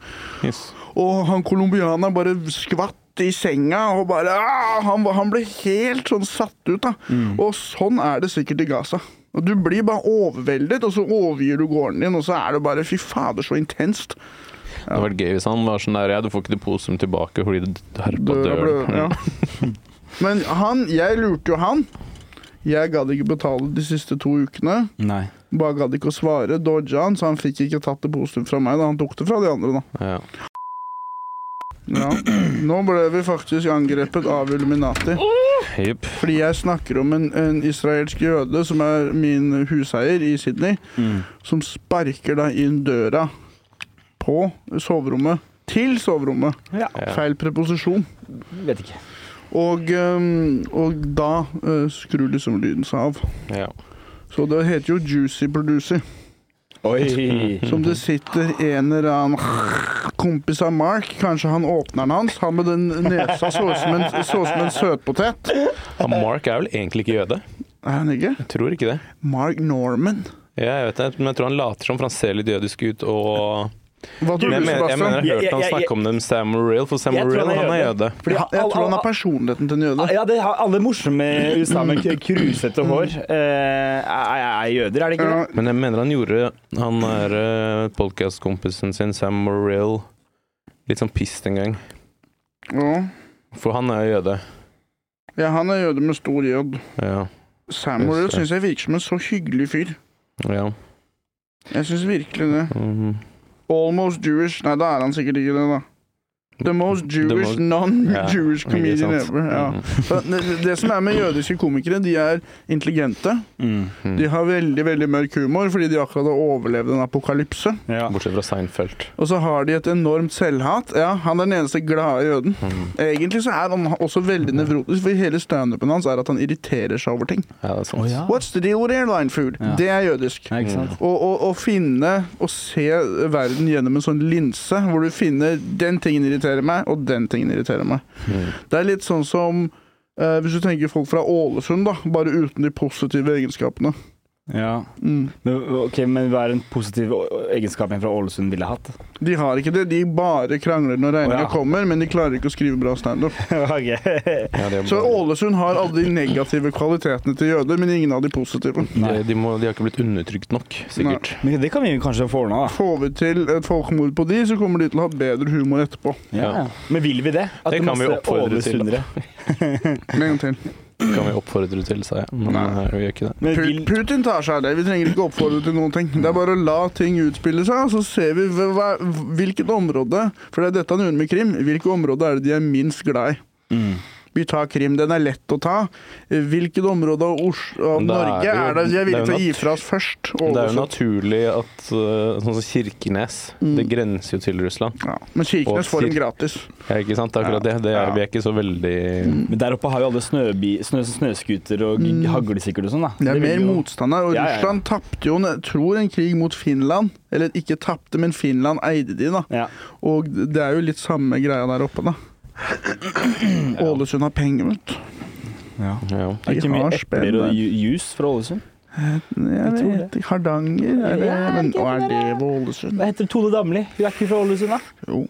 S1: Yes.
S3: Og han colombianeren bare skvatt i senga og bare «Ah!» han, var- han ble helt sånn satt ut, da. Og sånn er det sikkert i Gaza. Og Du blir bare overveldet, og så overgir du gården din, og så er det bare Fy fader, så intenst.
S1: Det hadde vært gøy hvis han var sånn der Ja, du får ikke depositum tilbake fordi du herpa
S3: Døra ble-
S1: døren.
S3: ja. Men han Jeg lurte jo han. Jeg gadd ikke betale de siste to ukene.
S2: Nei.
S3: Bare gadd ikke å svare. Dodja han, så han fikk ikke tatt det positivt fra meg. Da han tok det fra de andre, da.
S1: Ja.
S3: Ja. Nå ble vi faktisk angrepet av Illuminati.
S1: Jepp.
S3: Fordi jeg snakker om en, en israelsk jøde som er min huseier i Sydney,
S2: Mm.
S3: som sparker da inn døra på soverommet. Til soverommet.
S2: Ja.
S1: Ja.
S3: Feil preposisjon.
S2: Vet ikke.
S3: Og, øhm, og da øh, skrur liksom lyden seg av.
S1: Ja.
S3: Så det heter jo Juicy Producer.
S2: Oi.
S1: Mhm.
S3: Som det sitter en eller annen kompis av Mark, kanskje han åpneren hans, han med den nesa så ut som en, så ut som en søtpotet.
S1: Og Mark er vel egentlig ikke jøde?
S3: Er han ikke?
S1: Jeg tror ikke det.
S3: Mark Norman.
S1: Ja, jeg vet det, men jeg tror han later som, for han ser litt jødisk ut og
S3: Hva tror
S1: Men jeg
S3: du,
S1: mener, jeg
S3: Sebastian?
S1: mener jeg har
S2: Jeg-
S1: hørt han
S2: jeg- jeg-
S1: snakke om dem Samuel, for
S2: Jeg tror
S1: Samuel,
S2: han er
S1: han er
S2: jøde.
S1: jøde.
S2: Fordi
S3: Ja, jeg tror han har personligheten til en jøde.
S2: Ja, det har alle morsomme USA med
S3: Mm.
S2: k- krusete hår. Eh, er, er er jøder, er det ikke
S3: Ja,
S2: det?
S1: Men jeg mener han gjorde han er eh, podcastkompisen sin, Sam Morrill, litt sånn pissed en gang.
S3: ja.
S1: For han er jo jøde.
S3: ja, han er jøde med stor J.
S1: Ja.
S3: Samuel
S1: Yes, ja.
S3: syns jeg virker som en så hyggelig fyr.
S1: ja.
S3: Jeg syns virkelig det.
S1: Mm.
S3: Almost Jewish Nei, da er han sikkert ikke det, da. The most Jewish
S1: most-
S3: non-Jewish
S1: Ja, ikke
S3: comedian
S1: sant.
S3: ever. Ja.
S1: Mm.
S3: Det, det som er med jødiske komikere, de er intelligente.
S2: Mm.
S3: De har veldig veldig mørk humor fordi de akkurat har overlevd en apokalypse.
S2: Ja.
S1: Mhm. Bortsett fra Seinfeld.
S3: Og så har de et enormt selvhat. Ja, Han er den eneste glade jøden.
S1: Mhm.
S3: Egentlig så er han også veldig nevrotisk, for hele standupen hans er at han irriterer seg over ting.
S1: Ja, det er sant.
S3: What's the deal with airline food?
S2: Ja.
S3: Det er jødisk.
S2: Ja, ikke sant?
S3: Å, å, å finne og se verden gjennom en sånn linse, hvor du finner 'den tingen irriterer meg', og 'den tingen irriterer meg'.
S1: Mhm.
S3: Det er litt sånn som eh, hvis du tenker folk fra Ålesund, da, bare uten de positive egenskapene.
S2: Ja.
S3: Mm.
S2: Men, ok, men hva er en positiv o- o- egenskap en fra Ålesund ville hatt?
S3: De har ikke det. De bare krangler når
S2: Å,
S3: regninga
S2: ja.
S3: kommer, men de klarer ikke å skrive bra standup.
S2: Ok.
S1: Ja, de, er
S3: Så
S1: bare,
S3: Ålesund har alle de negative kvalitetene til jøder, men ingen av de positive.
S1: de, de, må, de har ikke blitt undertrykt nok, sikkert.
S2: Men det kan vi jo kanskje få ordna, da.
S3: Får vi til et folkemord på de, så kommer de til å ha bedre humor etterpå.
S2: Ja. Men vil vi det? At
S1: Det kan vi
S2: masse
S1: oppfordre til.
S2: ålesundere-
S3: Med en gang til.
S1: kan vi oppfordre til, sa jeg. Men
S3: Nei.
S1: eh, vi gjør ikke det.
S2: Men
S3: Pu-
S2: vil,
S3: Putin tar seg av det. Vi trenger ikke oppfordre til noen ting. Det er bare å la ting utspille seg, og så ser vi hva- hva- hvilket område For det er dette han gjør med Krim. Hvilke områder er det de er minst glad i?
S2: Mm.
S3: Vi tar Krim. Den er lett å ta. Hvilket område av, Os av
S1: Men det er
S3: Norge
S1: jo-
S3: er det
S1: det er
S3: vi er
S1: jo
S3: villige til å
S1: nat-
S3: gi fra oss først?
S1: Men Det er jo
S3: Ålesund.
S1: naturlig at eh, sånn som Kirkenes
S2: Mm.
S1: Det grenser jo til Russland.
S3: Ja, men Kirkenes
S1: Og
S3: får dem
S1: Kir-
S3: gratis.
S1: Ja, ikke sant? Det er Akkurat det. det er,
S3: Ja.
S1: Vi er ikke så veldig
S2: men der oppe har jo alle snøbi, snø, snøskuter og haglesikkert og sånn, da.
S3: Det er
S2: vil
S3: mer
S2: jo-
S3: motstand her. Og
S2: Ja, ja, ja.
S3: Russland tapte jo, jeg tror, en krig mot Finland. Eller ikke tapte, men Finland eide de, da.
S2: Ja.
S3: Og det er jo litt samme greia der oppe, da. Ålesund har penger, vet du.
S2: ja.
S1: ja.
S2: Er det
S3: De
S2: ikke mye
S3: har
S2: epler og
S3: spennende.
S2: ju- juice fra Ålesund?
S3: Jeg
S2: tror
S3: vet ikke. Hardanger? Er det,
S2: Ja,
S3: men,
S2: ikke
S3: og er
S2: det
S3: det
S2: der.
S3: ved Ålesund?
S2: Hva heter Tone Damli? Hun er ikke fra Ålesund, da?
S3: Jo.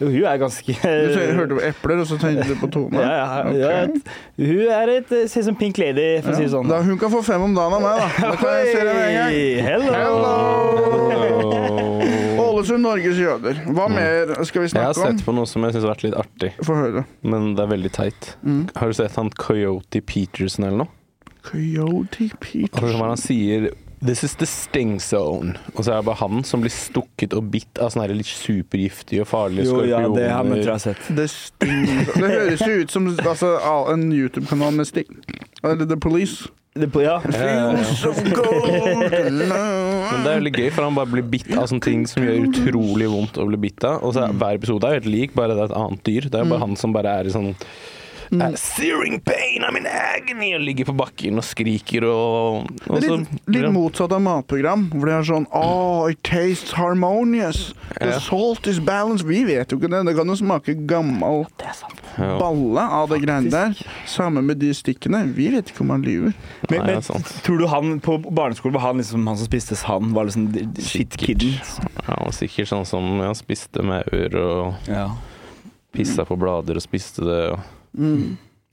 S2: Jo, hun er ganske
S3: Du sa- hørte på epler, og så tenkte du på Tone.
S2: Ja, ja, ja.
S3: Ok.
S2: Hun er et Ser ut som Pink Lady, for å si det sånn.
S3: Da, hun kan få fem om dagen av meg, da. Da kan jeg se det med en gang.
S2: Hei, Hello!
S1: Hello.
S3: Ålesund, Norges jøder.
S2: Mm.
S3: Hva mer skal vi
S1: Jeg har
S3: snakke om?
S1: sett på noe som jeg syns har vært litt artig,
S3: Få høre.
S1: men det er veldig teit.
S2: Mm.
S1: Har du sett han Coyote Peterson eller noe?
S3: Coyote
S1: Og så hva
S3: Peterson.
S1: han sier This is the sting zone. Og så er det bare han som blir stukket og bitt av sånne her litt supergiftige og farlige
S2: Jo, ja, det har jeg
S1: skorpioner.
S2: tror jeg har sett.
S3: Det, sting- det høres jo ut som altså, en YouTube-kanal med sting. Eller The Police.
S2: Det på, ja.
S3: Fields of gold.
S1: Men det er veldig gøy, for han bare blir bitt av sånne ting som gjør utrolig vondt å bli bitt av. Og så er
S3: Mm.
S1: hver episode er jo helt lik, bare det er et annet dyr. Det er jo bare han som bare er i sånn
S3: Mm.
S1: eh, Searing pain, I'm in agony! Og ligger på bakken og skriker og, og
S3: Det
S1: så,
S3: er litt, litt motsatt av matprogram, hvor det er sånn Oh, it tastes harmonious. The
S1: Ja.
S3: salt is balanced. Vi vet jo ikke det. Det kan jo smake gammel
S1: Ja.
S3: balle av det greiene der. Sammen med de stikkene. Vi vet ikke om han
S2: Men,
S3: lyver.
S1: Nei, det
S2: men
S1: er sant.
S2: tror du han på barneskolen var han liksom han som spiste sand? Var liksom d- d- shit kidden?
S1: Ja, og sikkert sånn som ja, spiste maur og
S2: Ja.
S1: pissa på blader og spiste det. og-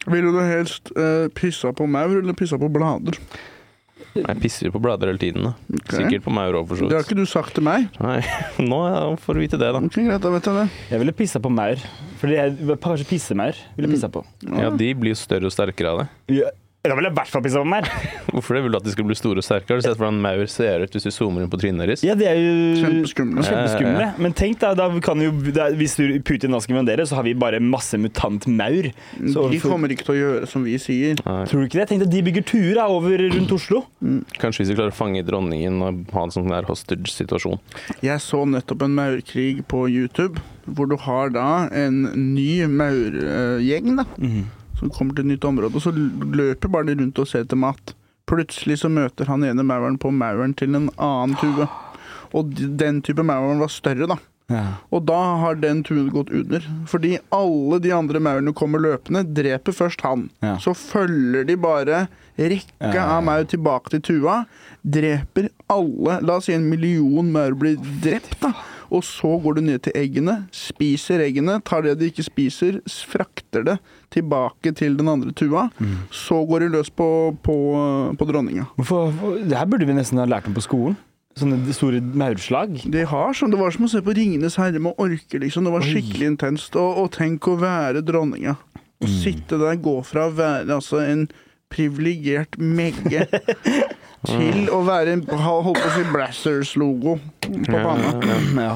S3: Ville du helst eh, pissa på maur eller pissa på blader?
S1: Nei, Jeg pisser jo på blader hele tiden. da
S3: Ok.
S1: Sikkert på maur òg, for så
S3: Det har
S1: vidt.
S3: ikke du sagt til meg.
S1: Nei, Nå ja, får du vite det, da.
S3: Ok, greit, da vet jeg det.
S2: Jeg ville pissa på maur. Fordi jeg, kanskje pissemaur ville jeg pissa på.
S1: Ja, De blir jo større og sterkere av det.
S2: Ja. Da ville jeg i hvert fall pissa på maur.
S1: Hvorfor det? Vil du at de skal bli store og sterke? Har du sett hvordan maur ser ut hvis du zoomer inn på trynet deres?
S2: Ja, det er jo
S3: Kjempeskumle.
S2: Kjempeskumle. Men tenk da, da kan jo, da, hvis du- Putin da skal invadere, så har vi bare masse mutant maur. Så
S3: De kommer ikke til å gjøre som vi sier.
S1: Nei.
S2: Tror du ikke det? Tenk deg, de bygger turer over rundt Oslo.
S1: Kanskje hvis vi klarer å fange dronningen og ha en sånn der hostage-situasjon.
S3: Jeg så nettopp en maurkrig på YouTube, hvor du har da en ny maurgjeng, da. Som kommer til et nytt område, og så løper bare de rundt og ser etter mat. Plutselig så møter han ene mauren på mauren til en annen tue. Og d- den type mauren var større, da. Og da har den tuen gått under. Fordi alle de andre maurene kommer løpende, dreper først han.
S2: Ja.
S3: Så følger de bare rekka av maur tilbake til tua, dreper alle La oss si en million maur blir drept, da. Og så går du ned til eggene, spiser eggene, tar det de ikke spiser, s- frakter det tilbake til den andre tua. Så går de løs på, på, på dronninga.
S2: Hvorfor, hvor- det her burde vi nesten ha lært om på skolen. Sånne store maurslag.
S3: De har sånn, Det var som å se på 'Ringenes herre' med orker, liksom. Det var skikkelig intenst. Og, og tenk å være dronninga. Å
S2: Mm.
S3: sitte der, gå fra å være altså, en privilegert megge til å være en ha- holdt på å si Brassers-logo på panna.
S2: Ja.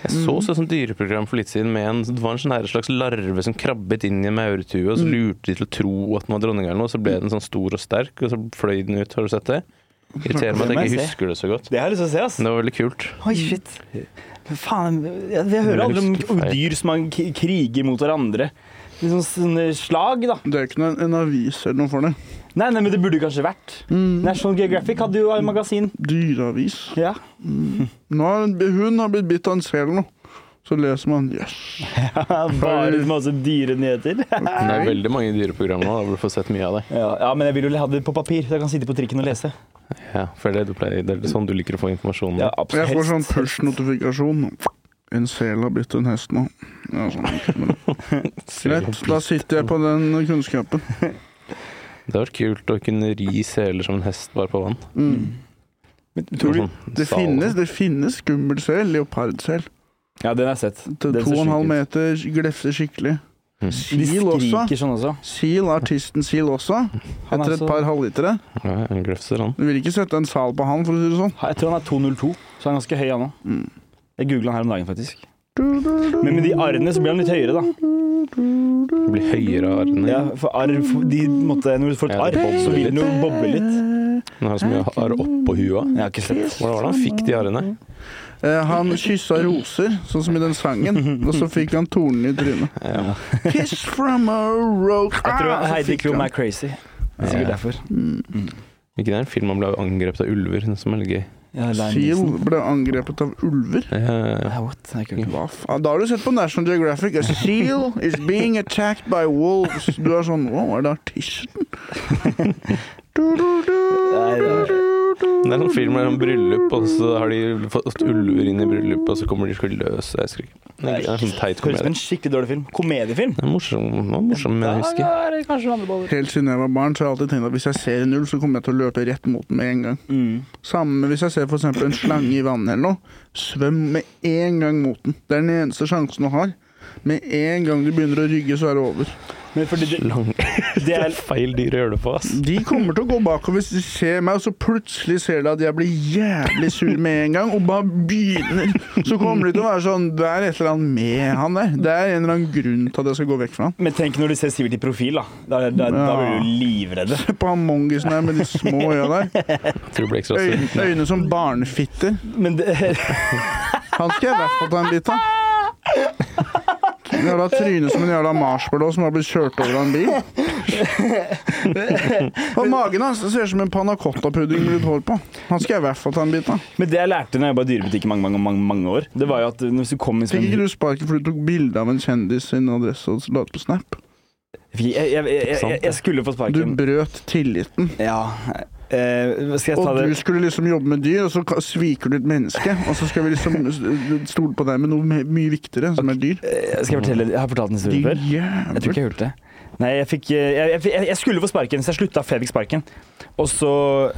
S1: Jeg
S2: Mm.
S1: så også et sånt dyreprogram for litt siden med en det var en sånn her slags larve som krabbet inn i en maurtue, og så
S2: Mm.
S1: lurte de til å tro at den var dronninga eller noe, og så ble den sånn stor og sterk, og så fløy den ut. Har du sett det? Irriterer meg at jeg ikke husker det så godt.
S2: Det har jeg lyst til å se, ass.
S1: Men det var veldig kult.
S2: Oi, shit. Men Faen, jeg, jeg hører aldri om dyr som man k- kriger mot hverandre. Liksom sånne slag, da.
S3: Det er ikke noe, en avis eller noe for det.
S2: Nei, nei, men det burde kanskje vært. National Geographic hadde jo et magasin.
S3: Dyreavis.
S2: Mm. Ja.
S3: Nå har en hund har blitt bitt av en sel nå. Så leser man jøss.
S2: Bare masse dyre nyheter.
S1: Men Det er veldig mange dyreprogram nå, da hvor du får sett mye av det.
S2: Ja, ja, men jeg vil jo ha det på papir, så jeg kan sitte på trikken og lese.
S1: Ja, for det, er det du pleier, det er sånn du liker å få informasjon.
S2: Ja,
S1: om.
S3: Jeg får sånn
S2: helst.
S3: push-notifikasjon. En sel har blitt en hest nå. Ja, sånn, ok, men- Greit, da sitter jeg på den kunnskapen.
S1: Det har vært kult å kunne ri seler som en hest bare på vann.
S2: Mm. Men Tror
S1: Sånn
S2: du?
S3: Mm. Det finnes, det finnes skummel sel, leopardsel.
S2: Ja, den har jeg sett.
S3: Til
S2: Den ser
S3: to og en
S2: sjuk ut.
S3: halv meter, glefser skikkelig.
S2: De
S3: Seal også.
S2: skriker sånn også.
S3: Seal, artisten Seal også.
S2: Han er
S3: Etter et
S2: så-
S3: par halvlitere.
S1: Ja, en grøfser, han.
S3: Du vil ikke sette en sal på han, for å si det sånn.
S2: Jeg tror han er 202, så han er ganske høy han òg.
S3: Mm.
S2: Jeg googla han her om dagen, faktisk. Men med de arrene så blir han litt høyere, da.
S1: Blir høyere av arrene.
S2: Ja, for arr de, måtte, Når du får et
S1: Ja, det
S2: arr,
S1: bobler
S2: så vil
S1: litt.
S2: den jo boble litt.
S1: Den har så mye arr oppå huet.
S2: Jeg har ikke sett.
S1: Hvordan var det han fikk de arrene?
S3: Eh, han kyssa roser, sånn som i den sangen, og så fikk han tornene i trynet.
S1: Ja.
S3: Kiss from a rose
S2: Jeg tror
S3: Ah, så
S2: Heidi
S3: fikk
S2: Klum
S3: han-
S2: er crazy. Det er sikkert derfor.
S1: Ikke det er en film han ble angrepet av ulver, som er litt gøy.
S2: Ja, Lion
S3: Seal
S2: Neeson.
S3: ble angrepet av ulver.
S1: Eh,
S2: Ja, what? Det er kult.
S3: Hva faen? Da har du sett på National Geographic. A seal is being attacked by wolves. Du er sånn Wow, er det artisten? Du, du, du.
S2: Nei, det er-
S1: Det er sånn film med sånn bryllup, og så har de fått ulver inn i bryllupet, og så kommer de og skal løse Jeg husker ikke. Det er en sånn teit
S2: Høres ut som
S1: komedie.
S2: en skikkelig dårlig film. Komediefilm?
S1: Det er morsom, den var morsom, men jeg husker.
S2: Ja, det er kanskje vandreboller.
S3: Helt siden jeg var barn, så har jeg alltid tenkt at hvis jeg ser en ulv, så kommer jeg til å løpe rett mot den med en gang.
S2: Mm.
S3: Samme hvis jeg ser for eksempel en slange i vannet eller noe. Svøm med en gang mot den. Det er den eneste sjansen du har. Med en gang du begynner å rygge, så er det over.
S2: Men fordi det,
S1: Lang.
S2: det
S1: Det
S2: er
S1: er feil dyr å gjøre det på, ass.
S3: De kommer til å gå bakover hvis de ser meg, og så plutselig ser de at jeg blir jævlig sur med en gang, og bare begynner. Så kommer de til å være sånn Det er et eller annet med han der. Det er en eller annen grunn til at jeg skal gå vekk fra han.
S2: Men tenk når du ser Sivert i profil, da. Da, da, da blir du livredd.
S3: Se på han mongisen her med de små øya der.
S1: Jeg tror det blir ekstra
S3: Øyne,
S1: søtt.
S3: øyne som barnefitter.
S2: Men det,
S3: Han skal jeg i hvert fall ta en bit av. En Jævla tryne som en jævla marshmallow som har blitt kjørt over av en bil. Og magen hans det ser ut som en panna cotta-pudding med litt hår på. Han skal jeg i hvert fall ta en bit av.
S2: men det jeg lærte når jeg var i dyrebutikk i mange, mange, mange, mange år, det var jo at hvis du kom inn som
S3: Fikk
S2: en
S3: ikke du sparken fordi du tok bilde av en kjendis sin adresse og la det på Snap?
S2: jeg, jeg, jeg, jeg, jeg skulle få
S3: Du
S2: sparken.
S3: brøt tilliten.
S2: Ja. Eh, skal jeg ta
S3: Og
S2: det
S3: du skulle liksom jobbe med dyr, og så ka- sviker du et menneske. Og så skal vi liksom s- stole på deg med noe me- mye viktigere, som er dyr.
S2: Eh, Skal jeg fortelle Jeg har fortalt en historie
S3: Din
S2: før. Jeg tror
S3: jævel.
S2: ikke jeg har gjort det. Nei, jeg fikk eh, Jeg, jeg, jeg- jeg skulle få sparken, så jeg slutta før jeg fikk sparken. Og så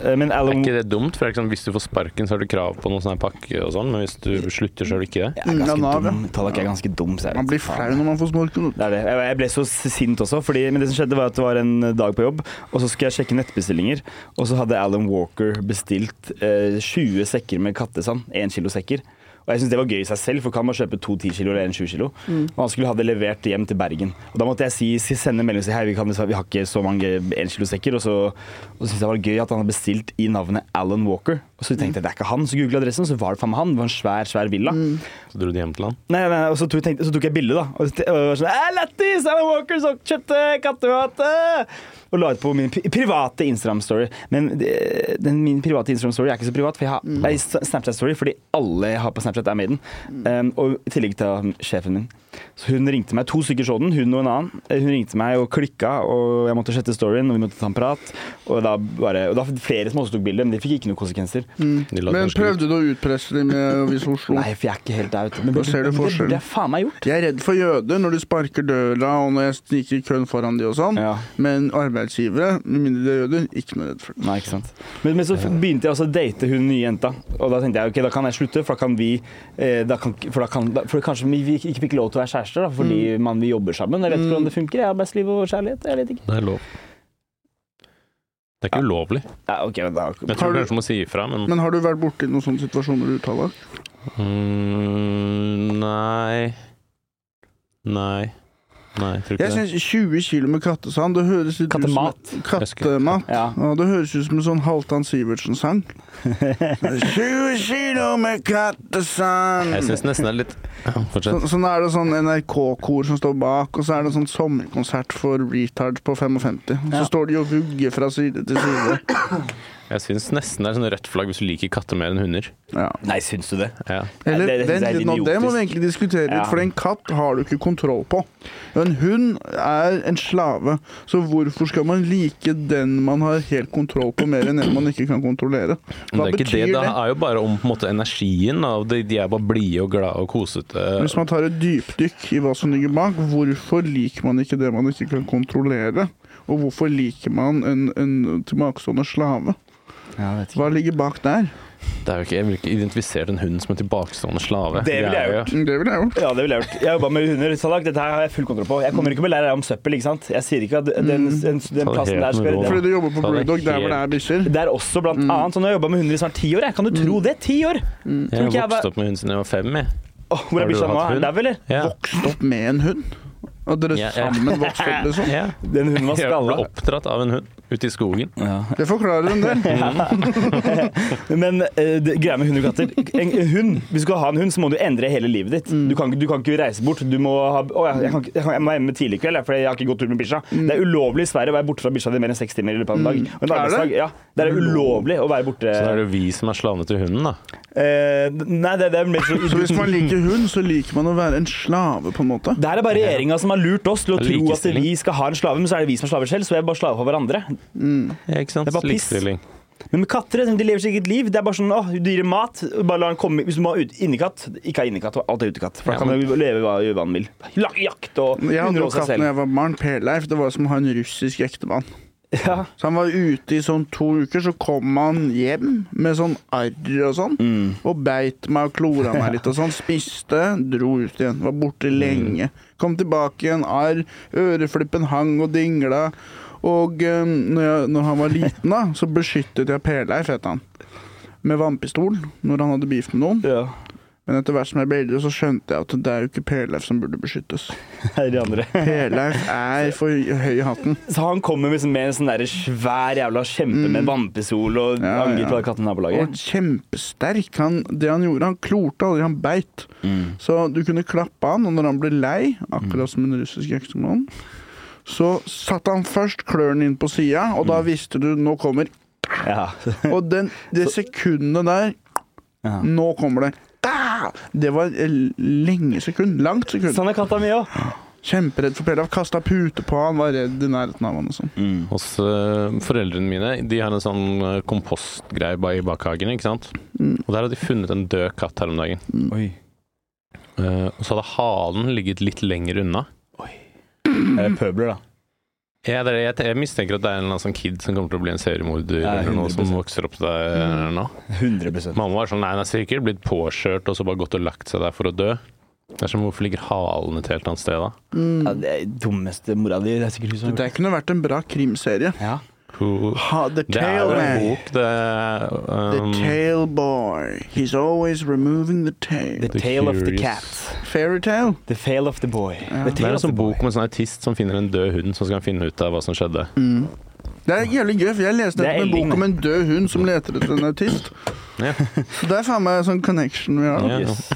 S2: eh, Men
S1: Er
S2: Alan
S1: ikke det dumt? For det er liksom, hvis du får sparken, så har du krav på noen sånn her pakke og sånn, men hvis du slutter, så har du ikke det.
S2: Jeg er ganske
S3: Ja, Nav, ja.
S2: dum. Tallak er ganske dum, så jeg
S3: Man
S2: vet
S3: blir
S2: ikke.
S3: flau når man får sparken.
S2: Det er det. Jeg jeg ble så sint også, fordi, men det som skjedde var at det var en dag på jobb, og så skulle jeg sjekke nettbestillinger, og så hadde Alan Walker bestilt eh, 20 sekker med kattesand, 1 kilo sekker. Og jeg synes det var gøy i seg selv, for kan man kjøpe to 10 kilo eller en 20 kilo? Og han skulle ha det levert hjem til Bergen. Og da måtte jeg si, si- sende en melding og si hei, vi, kan, dessverre- vi har ikke så mange 1 kilo sekker. Og så, og så syntes jeg det var gøy at han hadde bestilt i navnet Alan Walker. Og så tenkte jeg det er ikke han, så googlet jeg adressen, og så var det faen meg han. Det var en svær, svær villa.
S1: Så dro du hjem til han.
S2: Nei, nei, nei, og så tok, jeg tenkte, så tok jeg bilde, da. Og så og jeg var sånn «Eh, Lættis! Alan Walker så kjøpte kattemat! eh!» Og la ut på min pri private Instagram-story. Men det- den, min private Instagram-story er ikke så privat. For jeg har,
S3: Mm.
S2: nei, Snapchat-story, fordi alle jeg har på Snapchat, er med i den. Um, og i tillegg til sjefen min. Så hun ringte meg, to stykker så den, hun og en annen. Eh, Hun ringte meg og klikka, og jeg måtte slette storyen, og vi måtte ta en prat. Og da bare, og da flere som også tok bilde, men det fikk ikke noen konsekvenser.
S1: De la kanskje
S3: Men
S1: litt-
S3: prøvde du å utpresse dem med Avis Oslo?
S2: Nei, for jeg er ikke helt der, vet du. Men
S3: Da ser du
S2: det
S3: forskjellen.
S2: burde jeg faen meg gjort.
S3: Jeg er redd for jøder når de sparker døra og når jeg sniker i køen foran de og sånn,
S2: Ja.
S3: men arbeidsgivere, med mindre de er jøder, ikke noe redd for det.
S2: Nei, ikke sant. Men, men så f- begynte jeg også å date hun nye jenta. Og da tenkte jeg ok, da kan jeg slutte, for da kan vi eh, da kan, For da kan da, for kanskje vi vi ikke fikk lov til å være kjærester da, fordi
S1: Mm.
S2: man, vi jobber sammen. Jeg vet ikke hvordan det funker i arbeidsliv og kjærlighet. Jeg vet ikke.
S1: Det er lov. Det er ikke ulovlig.
S2: Ja, ok, men da,
S1: Jeg
S3: Har
S1: tror
S3: du-
S1: kanskje du må si ifra, men
S3: Men har du vært borti noen sånne situasjoner du uttaler?
S1: mm, Nei. Nei. Nei, jeg tror ikke
S3: Jeg
S1: det.
S3: syns 20 kilo med kattesand det høres litt Ut
S2: Kattemat.
S3: som, sånn kattemat.
S2: Ja.
S3: Ja, det høres ut som en sånn Halvdan Sivertsen-sang. 20 kilo med kattesand
S1: Jeg syns nesten det er litt
S3: Så,
S1: Fortsett.
S3: sånn er det sånn NRK-kor som står bak, og så er det sånn sommerkonsert for retards på 55. Og så
S2: Ja.
S3: står de og vugger fra side til side.
S1: Jeg syns nesten det er sånn rødt flagg hvis du liker katter mer enn hunder.
S3: Ja.
S2: Nei, syns du det?
S1: Ja.
S2: Nei,
S3: Eller,
S2: det- det
S3: vent
S2: er
S3: litt nå, det må vi egentlig diskutere litt,
S2: Ja.
S3: for en katt har du ikke kontroll på. En hund er en slave, så hvorfor skal man like den man har helt kontroll på, mer enn en man ikke kan kontrollere?
S1: Men
S3: Hva
S1: det er ikke det.
S3: betyr det?
S1: Det er jo bare om på en måte, energien. Av de, de er bare blide og glade og kosete.
S3: Hvis man tar et dypdykk i hva som ligger bak, hvorfor liker man ikke det man ikke kan kontrollere? Og hvorfor liker man en, en tilbakestående slave?
S2: Ja, jeg vet ikke.
S3: Hva ligger bak der?
S1: Det er jo ikke, jeg ville ikke identifisert en hund som en tilbakestående slave.
S2: Det ville jeg
S1: er
S2: gjort.
S3: Det ville jeg gjort.
S2: Ja, det ville jeg gjort. Jeg jobba med hunder. Sadak, dette her har jeg full kontroll på. Jeg kommer ikke med lære om søppel, ikke sant. Jeg sier ikke at den, den, den
S1: Mm. Ta det helt
S2: plassen der
S1: med
S2: skal
S1: ro. Mm.
S3: Fordi du jobber på
S1: Ja, det er
S3: Brewdog der hvor det er bikkjer.
S2: Det er også blant annet sånn jeg har jobba med hunder i snart ti år. Jeg kan du tro
S1: Mm.
S2: det? Ti år! Tror
S1: Jeg
S2: ikke jeg
S1: vokste
S2: var-
S1: opp med hund siden jeg var fem. Jeg.
S2: Åh, hvor
S1: Har
S2: er
S1: du
S2: bikkja
S1: hatt
S2: nå? Er
S1: hund?
S2: den dau, eller?
S1: Ja.
S3: Stopp med en hund. Og dere
S1: Ja, ja.
S3: sammen vokste opp, liksom.
S1: Ja.
S2: Den hunden var
S1: Jeg ble
S2: skalla.
S1: oppdratt av en hund ute i skogen.
S3: Det forklarer en del.
S2: Mm. Men eh, det, greia med hunder og katter en, en hund, Hvis du skal ha en hund, så må du endre hele livet ditt.
S3: Mm.
S2: Du, kan, ikke- du kan ikke reise bort. Du må ha Å, jeg, jeg, kan, ikke- jeg, kan, jeg må hjemme tidlig i kveld, jeg, for jeg har ikke gått tur med bikkja. Det er ulovlig i Sverige å være borte fra bikkja di mer enn seks timer i løpet av en dag. Og en
S3: Mm. Er det?
S2: arbeidsdag, ja, det er ulovlig å være borte.
S1: Så da er det jo vi som er slavene til hunden, da.
S2: Eh, nei, det, det er mer
S3: Så hvis man liker hund, så liker man å være en slave, på en måte.
S2: Det her er bare regjeringa som har lurt oss til å
S1: Det er
S2: tro at
S1: likestilling.
S2: vi skal ha en slave, men så er det vi som er slaver selv, så vi er bare slaver for hverandre.
S1: Ja, ikke sant?
S2: Det er bare piss.
S1: Likestilling.
S2: Men med katter de lever sitt eget liv. Det er bare sånn, åh, Du gir dem mat, bare la den komme Hvis du må ha ut- innekatt Ikke ha innekatt, alt er utekatt. For da
S1: Ja,
S2: kan
S1: men-
S2: du leve hva gjøre hva den vil. La- Jakt og
S3: Jeg hadde jo
S2: underholde seg
S3: katt da
S2: selv.
S3: jeg var barn. Per-Leif. Det var som å ha en russisk ektemann.
S2: Ja.
S3: Så han var ute i sånn to uker, så kom han hjem med sånn arr og sånn.
S2: Mm.
S3: Og beit meg og klora meg litt og sånn. Spiste, dro ut igjen. Var borte
S2: Mm.
S3: lenge. Kom tilbake igjen, arr. Øreflippen hang og dingla. Og eh, når, jeg, når han var liten, da, så beskyttet jeg Per-Leif, het han. Med vannpistol når han hadde beef med noen.
S2: ja.
S3: Men etter hvert som jeg ble eldre, så skjønte jeg at det er jo ikke Per-Leif som burde beskyttes.
S2: Her er de andre.
S3: Per-Leif er for høy i hatten.
S2: Så han kommer liksom med en sånn der svær jævla kjempe med en vannpistol og
S3: Mm. Ja, ja.
S2: angriper alle kattene i
S3: Og
S2: nabolaget.
S3: kjempesterk. Han, det han gjorde, han klorte aldri, han beit. Så du kunne klappe han, og når han ble lei, akkurat som en russisk ektemann, så satte han først klørne inn på sida, og da visste du nå kommer
S2: Ja.
S3: Og den, det sekundet der
S2: Ja.
S3: Nå kommer det. Da! Det var et lenge sekund. Langt sekund.
S2: Sånn er katta mi òg.
S3: Kjemperedd for Pellaf. Kasta pute på han, var redd i nærheten av han og sånn.
S1: Hos eh, foreldrene mine De har en sånn eh, kompostgreie ba- i bakhagen, ikke sant?
S2: Mm.
S1: Og der hadde de funnet en død katt her om dagen. Eh, og så hadde halen ligget litt lenger unna.
S2: Er det pøbler, da?
S1: Jeg, det, jeg, jeg mistenker at det er en eller annen sånn kid som kommer til å bli en seriemorder
S2: Ja, Mm.
S1: eller noe som
S2: 100%.
S1: vokser opp der eh, nå.
S2: 100
S1: Mamma var sånn Nei, hun er sikkert blitt påkjørt og så bare gått og lagt seg der for å dø. Det er som hvorfor ligger halen et helt annet sted da?
S3: Mm.
S2: ja, Det er dummeste mora di. Det er sikkert hun som har gjort
S3: Det kunne vært en bra krimserie.
S2: det. Ja.
S1: Who-
S3: Ha, the
S1: Det er jo
S3: Tail
S1: en
S3: Man.
S1: bok, det er
S3: The
S1: um,
S3: tail boy. He's always removing the tail.
S2: The,
S1: The
S2: tale of the
S1: Curious.
S2: cat.
S3: Fairytale.
S2: The fail of the boy. The
S1: Det er
S2: tale
S1: en
S2: of the
S1: sånn
S2: boy.
S1: bok om en sånn autist som finner en død hund, så skal han finne ut av hva som skjedde.
S2: Mm.
S3: Det er jævlig gøy, for jeg leste
S2: Det er
S3: nettopp en
S2: Elling,
S3: bok om en død hund som leter etter en autist.
S1: Mm. Ja.
S3: Så det er faen meg sånn connection vi har. da.
S1: Ja.
S2: Yes.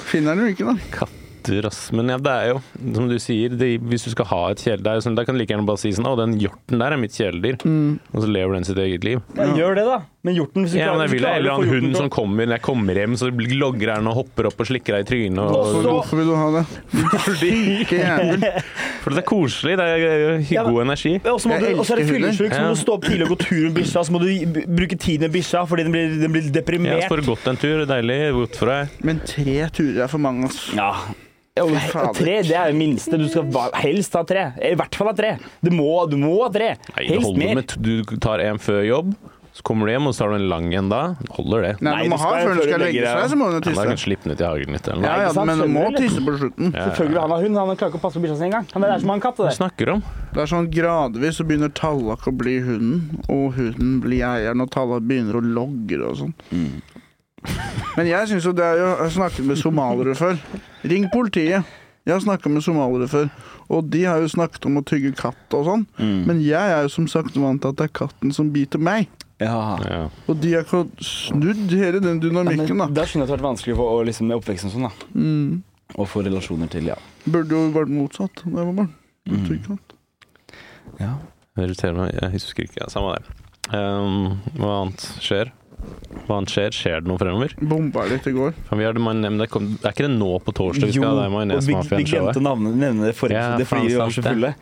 S3: Finner den jo ikke, da.
S1: Katter, ass. Men ja, det er jo, som du sier, de, hvis du skal ha et kjæledyr det er jo sånn, Da kan du like gjerne bare si sånn Å, den hjorten der er mitt kjæledyr. Og så lever den sitt eget liv.
S2: Ja, gjør det, da. Men hjorten hvis Mm. du
S1: Ja, men
S2: klarer,
S1: jeg vil ha en eller
S2: å få
S1: annen
S2: hjorten
S1: hund
S2: til å-
S1: som kommer når jeg kommer hjem, så logrer den og hopper opp og slikker deg i trynet.
S2: Og
S3: Så
S1: Og,
S2: så-
S3: hvorfor vil du ha det? Syke jævel.
S1: for det er koselig. Det er eh,
S2: Ja, men-
S1: god energi.
S2: Ja, og så må
S3: Jeg
S2: du- og så er det
S3: elsker hunder.
S2: fyllesyk, så
S1: Ja.
S2: må du stå opp tidlig og gå tur med bikkja. Så må du b- bruke tid med bikkja fordi den blir, den blir
S1: Ja,
S2: deprimert.
S1: så får du gått en tur. Deilig. Godt for deg.
S3: Men tre turer er for mange, ass.
S2: Ja. Ja, og
S3: fader.
S2: tre det er det minste. Du skal va- helst ha tre. I hvert fall ha tre. Du må, du må ha tre.
S1: Nei, det
S2: Helst
S1: holder
S2: mer.
S1: med t- Du tar en før jobb, så kommer du hjem, og så tar du en lang en da. Holder det.
S3: Nei,
S2: Nei,
S3: du
S2: du
S3: må ha
S2: skal jo
S3: før du
S2: før du
S3: skal legge
S2: legger deg,
S3: seg, så må du
S1: Ja, da kan
S3: tisse.
S1: du slippe den ut i hagen litt eller
S3: Ja,
S1: noe.
S3: ja,
S2: ikke sant?
S3: men du må
S2: Skjønner du, eller?
S3: tisse på slutten.
S1: Ja,
S2: Selvfølgelig vil han ha hund. Han klarer ikke å passe på bikkja si engang. Han er som han
S1: Hva
S2: katt. Det. der.
S1: snakker du om?
S3: Det er sånn gradvis så begynner tallak å bli hunden, og hunden blir eieren, og tallak begynner å logre og sånn. Men jeg syns jo det er jo Jeg har snakket med somaliere før. Ring politiet. Jeg har snakka med somaliere før, og de har jo snakket om å tygge katt og sånn. Men jeg er jo som sagt vant til at det er katten som biter meg.
S2: Ja.
S1: Ja.
S3: Og de har ikke snudd hele den dynamikken,
S2: Men,
S3: da.
S2: da skjønner jeg at det har vært vanskelig for, å, liksom, med oppveksten og sånn. da. Og få relasjoner til, ja.
S3: Burde jo vært motsatt da jeg var barn. Burde tygge katt.
S2: ja.
S1: Det irriterer meg. Jeg husker ikke. Ja, samme det. Ehm, hva annet skjer? Hva annet skjer? Skjer det noe fremover?
S3: Bomba litt i går.
S1: Kan vi gjøre det, majones- men det kom, er ikke det nå på torsdag vi skal ha det
S2: og vi, vi glemte
S1: majonesmafiaen-showet?
S2: å navne- nevne det forrige
S1: Ja,
S2: episode fordi
S1: faen,
S2: vi var så
S1: sant
S2: fulle.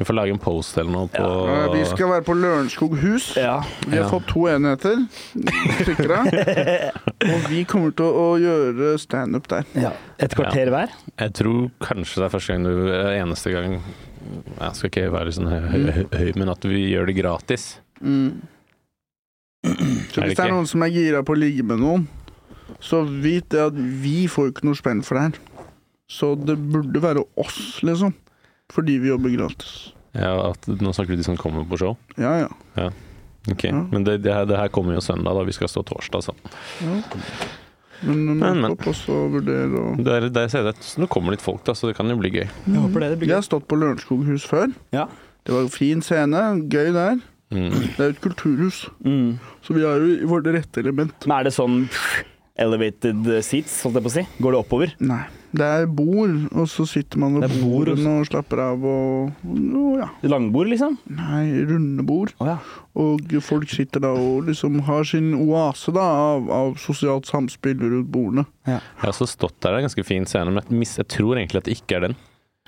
S1: Vi får lage en post eller noe på
S3: Eh, Vi skal være på Lørenskog hus.
S2: Ja.
S3: Vi har
S1: Ja.
S3: fått to enheter sikra. Og vi kommer til å gjøre standup der.
S2: Et kvarter hver.
S1: Jeg tror kanskje det er første gang du eh, Eneste gang Jeg skal ikke være sånn høy, høy, høy men at vi gjør det gratis.
S3: Mm. Så
S1: Er det
S3: hvis det er
S1: ikke?
S3: noen som er gira på å ligge med noen, så vit det at vi får jo ikke noe spenn for det her. Så det burde være oss, liksom. Fordi vi jobber gratis.
S1: Ja, at, nå snakker du de som kommer på show.
S3: Ja, ja.
S1: Ok,
S3: Ja.
S1: Men det, det, her, det her kommer jo søndag, da. Vi skal stå torsdag sammen.
S3: Men du må
S1: Men, men.
S3: opp og så vurdere og
S1: Der, der ser jeg det. Nå kommer litt folk, da, så det kan jo bli gøy.
S2: Jeg håper det. Det blir
S3: Jeg
S2: gøy.
S3: har stått på Lørenskog hus før.
S2: Ja.
S3: Det var en fin scene. Gøy der.
S1: Mm.
S3: Det er jo et kulturhus,
S2: Mm.
S3: så vi er jo i vårt rette element.
S2: Men er det sånn elevated seats, holdt jeg på å si? Går det oppover?
S3: Nei. Det er bord, og så sitter man ved
S2: Det er bord, og
S3: bordene og slapper av og og ja.
S2: Langbord, liksom?
S3: Nei, runde bord.
S2: Å ja.
S3: Og folk sitter da og liksom har sin oase da av, av sosialt samspill rundt bordene.
S1: Jeg har også stått der, det er en ganske fin scene, men jeg, mis, jeg tror egentlig at det ikke er den.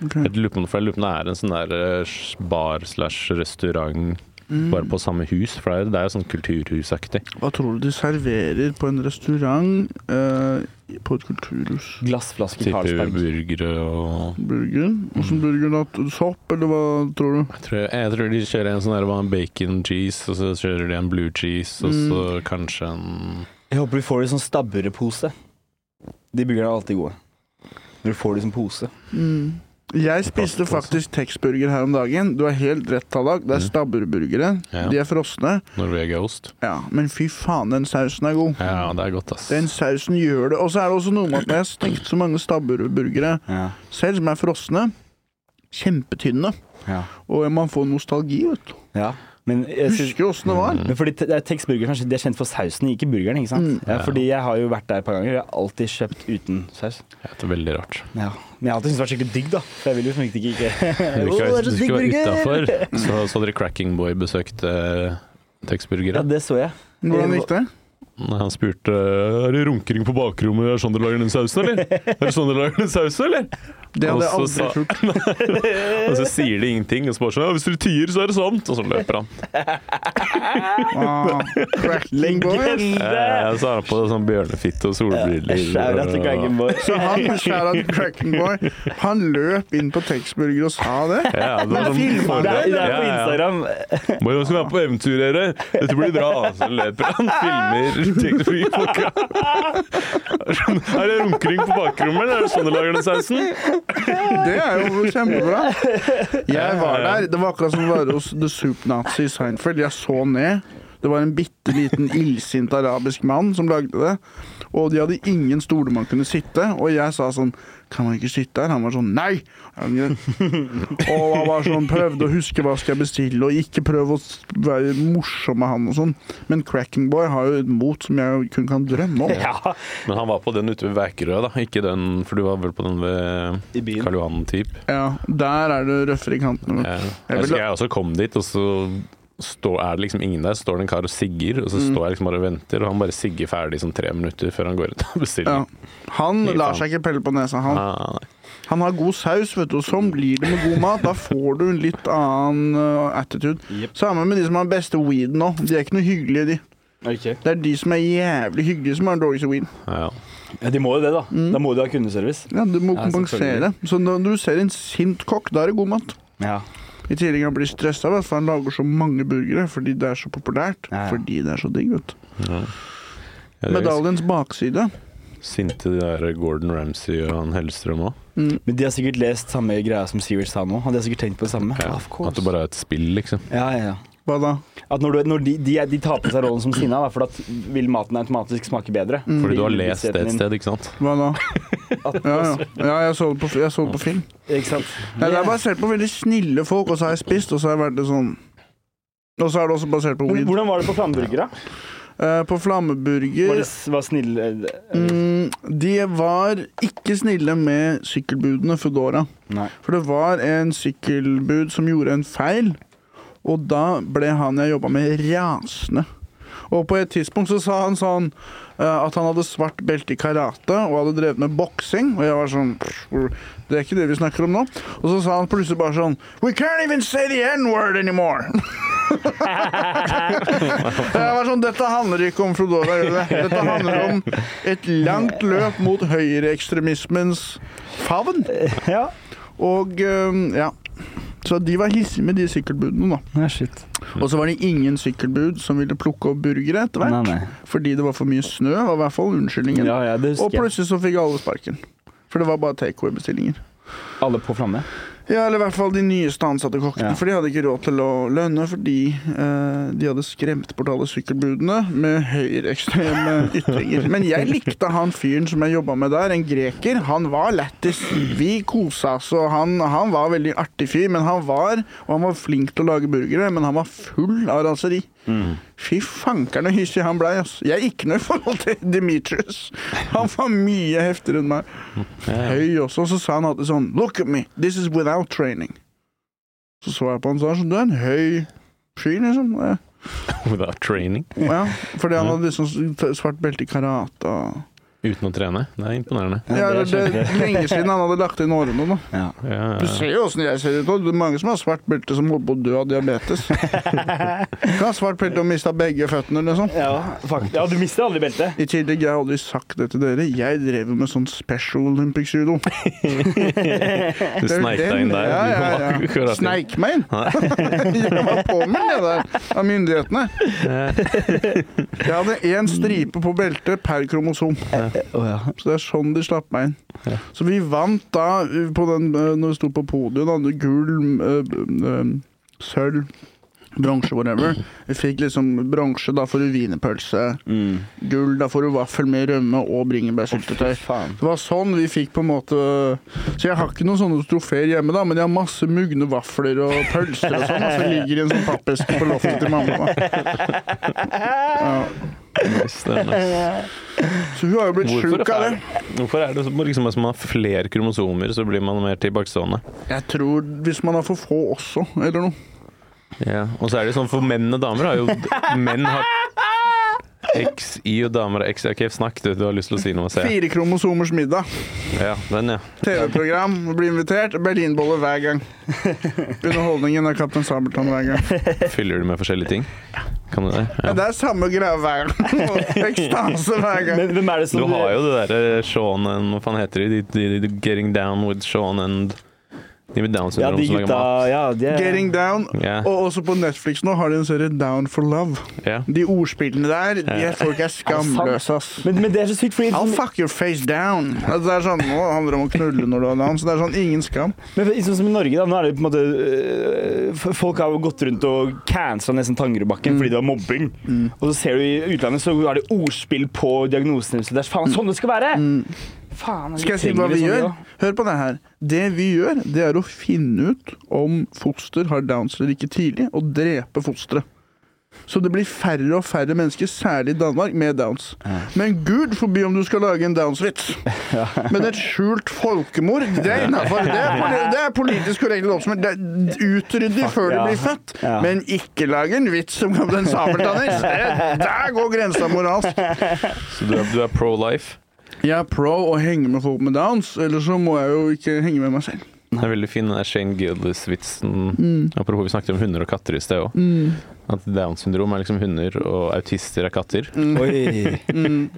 S3: Ok.
S1: Jeg lurer på om for jeg lurer på om det er en sånn der eh, bar slash restaurant bare på samme hus, for det er jo- det er jo sånn kulturhusaktig.
S3: Mm. Hva tror du de serverer på en restaurant eh, på et kulturhus?
S2: Glassflaske
S1: Type
S2: Carlsberg.
S1: burgere og
S3: Burger? Åssen burger? da? Sopp, eller hva tror du?
S1: jeg tror, jeg tror de kjører en sånn der bare en bacon cheese, og så kjører de en blue cheese, og så
S2: Mm.
S1: kanskje en
S2: Jeg håper du får det i sånn stabburepose. De burgerne er alltid gode. Når du får det som pose.
S3: Mm. Jeg spiste
S1: Plastpose.
S3: faktisk Texburger her om dagen. Du har helt rett, Tallak. Det er
S1: Mm.
S3: stabburburgere.
S1: Ja.
S3: De er frosne.
S1: Norvegiaost.
S3: Ja, men fy faen, den sausen er god.
S1: Ja, det er godt, ass.
S3: Den sausen gjør det. Og så er det også noe med at når jeg har stekt så mange stabburburgere
S2: Ja.
S3: selv, som er frosne, kjempetynne,
S2: Ja.
S3: og man får nostalgi, vet du.
S2: ja. Men jeg synes,
S3: Husker jo åssen det var.
S2: Men fordi te- det er Tex Burger kanskje, de er kjent for sausen, ikke burgeren. ikke sant?
S3: Mm.
S2: Ja, fordi jeg har jo vært der et par ganger, jeg har alltid kjøpt uten saus.
S1: Det er veldig rart.
S2: Ja. Men jeg har alltid syntes det var skikkelig digg, da. For jeg vil jo som riktig ikke
S1: Hvis du
S2: Å, det er
S1: skal,
S2: så
S1: hvis du
S2: digg
S1: skal være
S2: burger!
S1: utafor, så, så hadde Cracking Boy besøkt eh, Tex Burger.
S2: Ja,
S1: ja.
S2: det så jeg.
S3: Hvordan gikk det?
S1: Når han spurte Er det runkering på bakrommet, er det sånn dere lager den sausen, eller? Er det sånn dere lager den sausen, eller?
S3: Det hadde jeg
S1: Og
S3: aldri
S1: så sa-
S3: gjort.
S1: Og så sier de ingenting, og så bare sånn Ja, hvis dere tier, så er det sant! Og så løper han.
S3: Ah, cracking boys.
S1: Eh, så har han på sånn bjørnefitte og solbriller.
S2: Skjæra til Gaggen Boy.
S3: Så han, shout out cracking boy, han løp inn på Texburger og sa det.
S1: Ja, det var
S3: Men filmer
S1: sånn,
S2: Det er, det er
S1: Ja,
S2: på
S1: ja.
S2: Instagram.
S1: Bare nå skal vi være på eventyr, dere. Dette blir bra. Så løper han, filmer teknologi folka. Er det runkering på bakrommet, eller er det sånn de lager den sausen?
S3: Det er jo kjempebra. Jeg var der. Det var akkurat som å være hos The Soup Nazi i Seinfeld. Jeg så ned. Det var en bitte liten illsint arabisk mann som lagde det. Og de hadde ingen stoler man kunne sitte. Og jeg sa sånn Kan man ikke sitte her? Han var sånn Nei! Jeg var greit. Og han var sånn prøvde å huske hva skal jeg bestille, og ikke prøve å s- være morsom med han og sånn. Men Cracking Boy har jo et mot som jeg kun kan drømme om.
S2: Ja,
S1: Men han var på den ute ved Vækerø, da. Ikke den, for du var vel på den ved
S2: I byen.
S1: Karl Johan-typ.
S3: Ja, der er det røffere i kantene.
S1: Jeg,
S3: Jeg
S1: husker
S3: vil-
S1: jeg også kom dit, og så står, er det liksom ingen der. Så står det en kar og sigger, og så
S3: Mm.
S1: står jeg liksom bare og venter, og han bare sigger ferdig i sånn tre minutter før han går ut og
S3: Ja.
S1: bestiller.
S3: Han
S1: Fy
S3: lar
S1: faen.
S3: seg ikke pelle på nesa, han.
S1: Ah, nei.
S3: Han har god saus, vet du, og sånn blir det med god mat. Da får du en litt annen uh, attitude.
S2: Jep.
S3: Samme med de som har beste weeden nå. De er ikke noe hyggelige, de.
S2: ok.
S3: Det er de som er jævlig hyggelige, som har den dårligste weeden.
S1: ja.
S2: Ja, de må jo det, da. Da må de ha kundeservice.
S3: Ja, du må
S2: Ja,
S3: kompensere. Så når du ser en sint kokk, da er det god mat.
S2: Ja.
S3: I tillegg han blir stressa, vet du, for han lager så mange burgere fordi det er så populært.
S2: Ja, ja.
S3: Fordi det er så digg, vet du.
S1: Ja, det er jo
S3: Medaljens bakside.
S1: Sinte de der Gordon Ramsay og han Hellstrøm òg.
S2: Men de har sikkert lest samme greia som Sivert sa nå. Hadde jeg sikkert tenkt på det samme.
S1: Ja, at det bare er et spill, liksom.
S2: Ja, ja, ja.
S3: Hva da?
S2: At når, du, når de, de, er- de tar på seg rollen som Sina, da, for at vil maten automatisk smake bedre.
S3: Mm.
S1: Fordi du har lest det et
S2: bevisstheten
S1: sted, ikke sant?
S3: Hva da?
S2: din-
S3: Ja, ja. ja jeg, så det på, jeg så det på film.
S2: Ikke sant?
S3: Nei, det er basert på veldig snille folk, og så har jeg spist, og så har jeg vært litt sånn Og så er det også basert på
S2: Men
S3: weed.
S2: Hvordan var det på flamburger, da?
S3: Eh, på
S2: Var det
S3: flammeburger
S2: s- var snill eh,
S3: mm, De var ikke snille med sykkelbudene Foodora.
S2: Nei.
S3: For det var en sykkelbud som gjorde en feil, og da ble han jeg jobba med, rasende. Og på et tidspunkt så sa han sånn eh, at han hadde svart belte i karate og hadde drevet med boksing, og jeg var sånn "Pff, Det er ikke det vi snakker om nå. Og så sa han plutselig bare sånn We can't even say the N-word anymore. jeg var sånn Dette handler ikke om Flodora, gjør det? Dette handler om et langt løp mot høyreekstremismens favn.
S2: Ja.
S3: Og øhm, ja. Så Så de var hissige med de sykkelbudene, da.
S2: Nei, shit.
S3: Og så var det ingen sykkelbud som ville plukke opp burgere etter hvert.
S2: Nei, nei.
S3: Fordi det var for mye snø, var i hvert fall unnskyldningen.
S2: Ja, ja, det
S3: og
S2: husker jeg.
S3: plutselig så fikk alle sparken. For det var bare takeaway-bestillinger.
S2: Alle på Flamme.
S3: Ja, eller i hvert fall de nyeste ansatte kokkene,
S2: Ja.
S3: for de hadde ikke råd til å lønne fordi eh, de hadde skremt bort alle sykkelbudene med høyreekstreme ytringer. Men jeg likte han fyren som jeg jobba med der, en greker. Han var lættis. Vi kosa oss, og han, han var veldig artig fyr. Men han var, og han var flink til å lage burgere, men han var full av raseri.
S1: Mm.
S3: Fy fankeren og hissig han blei, ass. Jeg er ikke noe i forhold til Demetrius. Han var mye heftigere enn meg. Høy også. Og så sa han alltid sånn Look at me, this is without training. Så så jeg på han og sa sånn Du er en høy fyr, liksom. Eh,
S1: Without training.
S3: Ja, fordi han hadde liksom s- svart belte i karate og
S1: Uten å trene. Det er imponerende.
S3: Ja,
S2: det er
S3: det, det lenge siden han hadde lagt inn årene nå.
S2: Ja.
S1: Ja,
S3: Du
S1: ja.
S3: ser jo åssen jeg ser ut nå. Det er mange som har svart belte som holder på å dø av diabetes. Kan ha svart belte og mista begge føttene, liksom.
S2: Ja, faktisk. ja, du mister aldri beltet.
S3: I tillegg, jeg har aldri sagt det til dere, jeg drev med sånn Special Olympics-judo.
S1: Du sneik deg inn der.
S3: Ja,
S1: Du
S3: ja,
S1: var
S3: ja.
S1: akkurat inn.
S3: Sneik meg inn! jeg var påmeldt, jeg der, av myndighetene. Jeg hadde én stripe på beltet per kromosom,
S2: Oh, ja.
S3: så det er sånn de slapp meg inn. Så vi vant da, på den, eh, når vi sto på podiet, da, det gull, eh, eh, sølv, bronse, whatever. Vi fikk liksom bronse da for ruvinepølse,
S2: Mm.
S3: gull da for vaffel med rømme og bringebærsyltetøy.
S2: Faen.
S3: Det var sånn vi fikk på en måte Så jeg har ikke noen sånne trofeer hjemme, da, men jeg har masse mugne vafler og pølser og sånn, som ligger i en sånn pappeske på loftet til mamma. da. Ja.
S1: Nice, det er nice.
S3: Så hun har jo blitt
S1: Hvorfor
S3: sjuk av
S1: er,
S3: det.
S1: hvorfor er det så- liksom hvis man har flere kromosomer, så blir man mer tilbakestående?
S3: Jeg tror hvis man har for få også, eller noe.
S1: Ja. Og så er det jo sånn for menn og damer har jo Menn har X, Y og damer har X. Ok, snakk, du. Du har lyst til å si noe. Se.
S3: Fire kromosomers middag.
S1: Ja, den, ja.
S3: TV-program, bli invitert. Berlinbolle hver gang. Underholdningen av Kaptein Sabeltann hver gang.
S1: Fyller du med forskjellige ting? Kan du det? Ja.
S3: Men det er samme greia hver gang. Og Ekstase hver gang.
S2: Men hvem er sånn det som
S1: Du har jo det derre Sean and Hva faen heter de? De, de, de? Getting down with Sean and De med Downs
S2: Ja,
S1: syndrom
S2: de
S1: som
S2: gutta
S1: lager mat.
S2: ja, de er,
S3: Getting Down.
S1: Ja.
S3: Og også på Netflix nå har de en serie Down for Love.
S1: Ja.
S3: De ordspillene der, de folk er skamløse, ass.
S2: men, men det er så sykt, fordi
S3: I'll
S2: sånn-
S3: fuck your face down. Altså, det er sånn, Nå handler det om å knulle når du har down, så det er sånn ingen skam.
S2: Men for- sånn som i Norge, da, nå er det jo på en måte øh, f- Folk har jo gått rundt og cancela nesten Tangerudbakken
S3: Mm.
S2: fordi det var mobbing. Og så ser du i utlandet, så er det ordspill på diagnosen deres. Det er faen sånn det skal være!
S3: Mm.
S2: Faen,
S3: Skal jeg si hva vi gjør? Hør på det her. Det vi gjør, det er å finne ut om foster har downs eller ikke tidlig, og drepe fosteret. Så det blir færre og færre mennesker, særlig i Danmark, med downs. Men gud forby om du skal lage en downs-vits. Men et skjult folkemord, det er innafor. Det, er poli- det er politisk korrekt oppsummert. Det er Utrydde før de
S2: ja.
S3: blir født,
S2: Ja.
S3: men ikke lage en vits som Kaptein Sabeltann. i. Det- Der går grensa moralsk.
S1: Så du er, du er pro life?
S3: Jeg er pro å henge med folk med downs, ellers så må jeg jo ikke henge med meg selv.
S1: Det er veldig fin den der Shane Gillis-vitsen. Apropos, vi snakket om hunder og katter i sted òg. At Downs syndrom er liksom hunder, og autister er katter.
S2: Oi.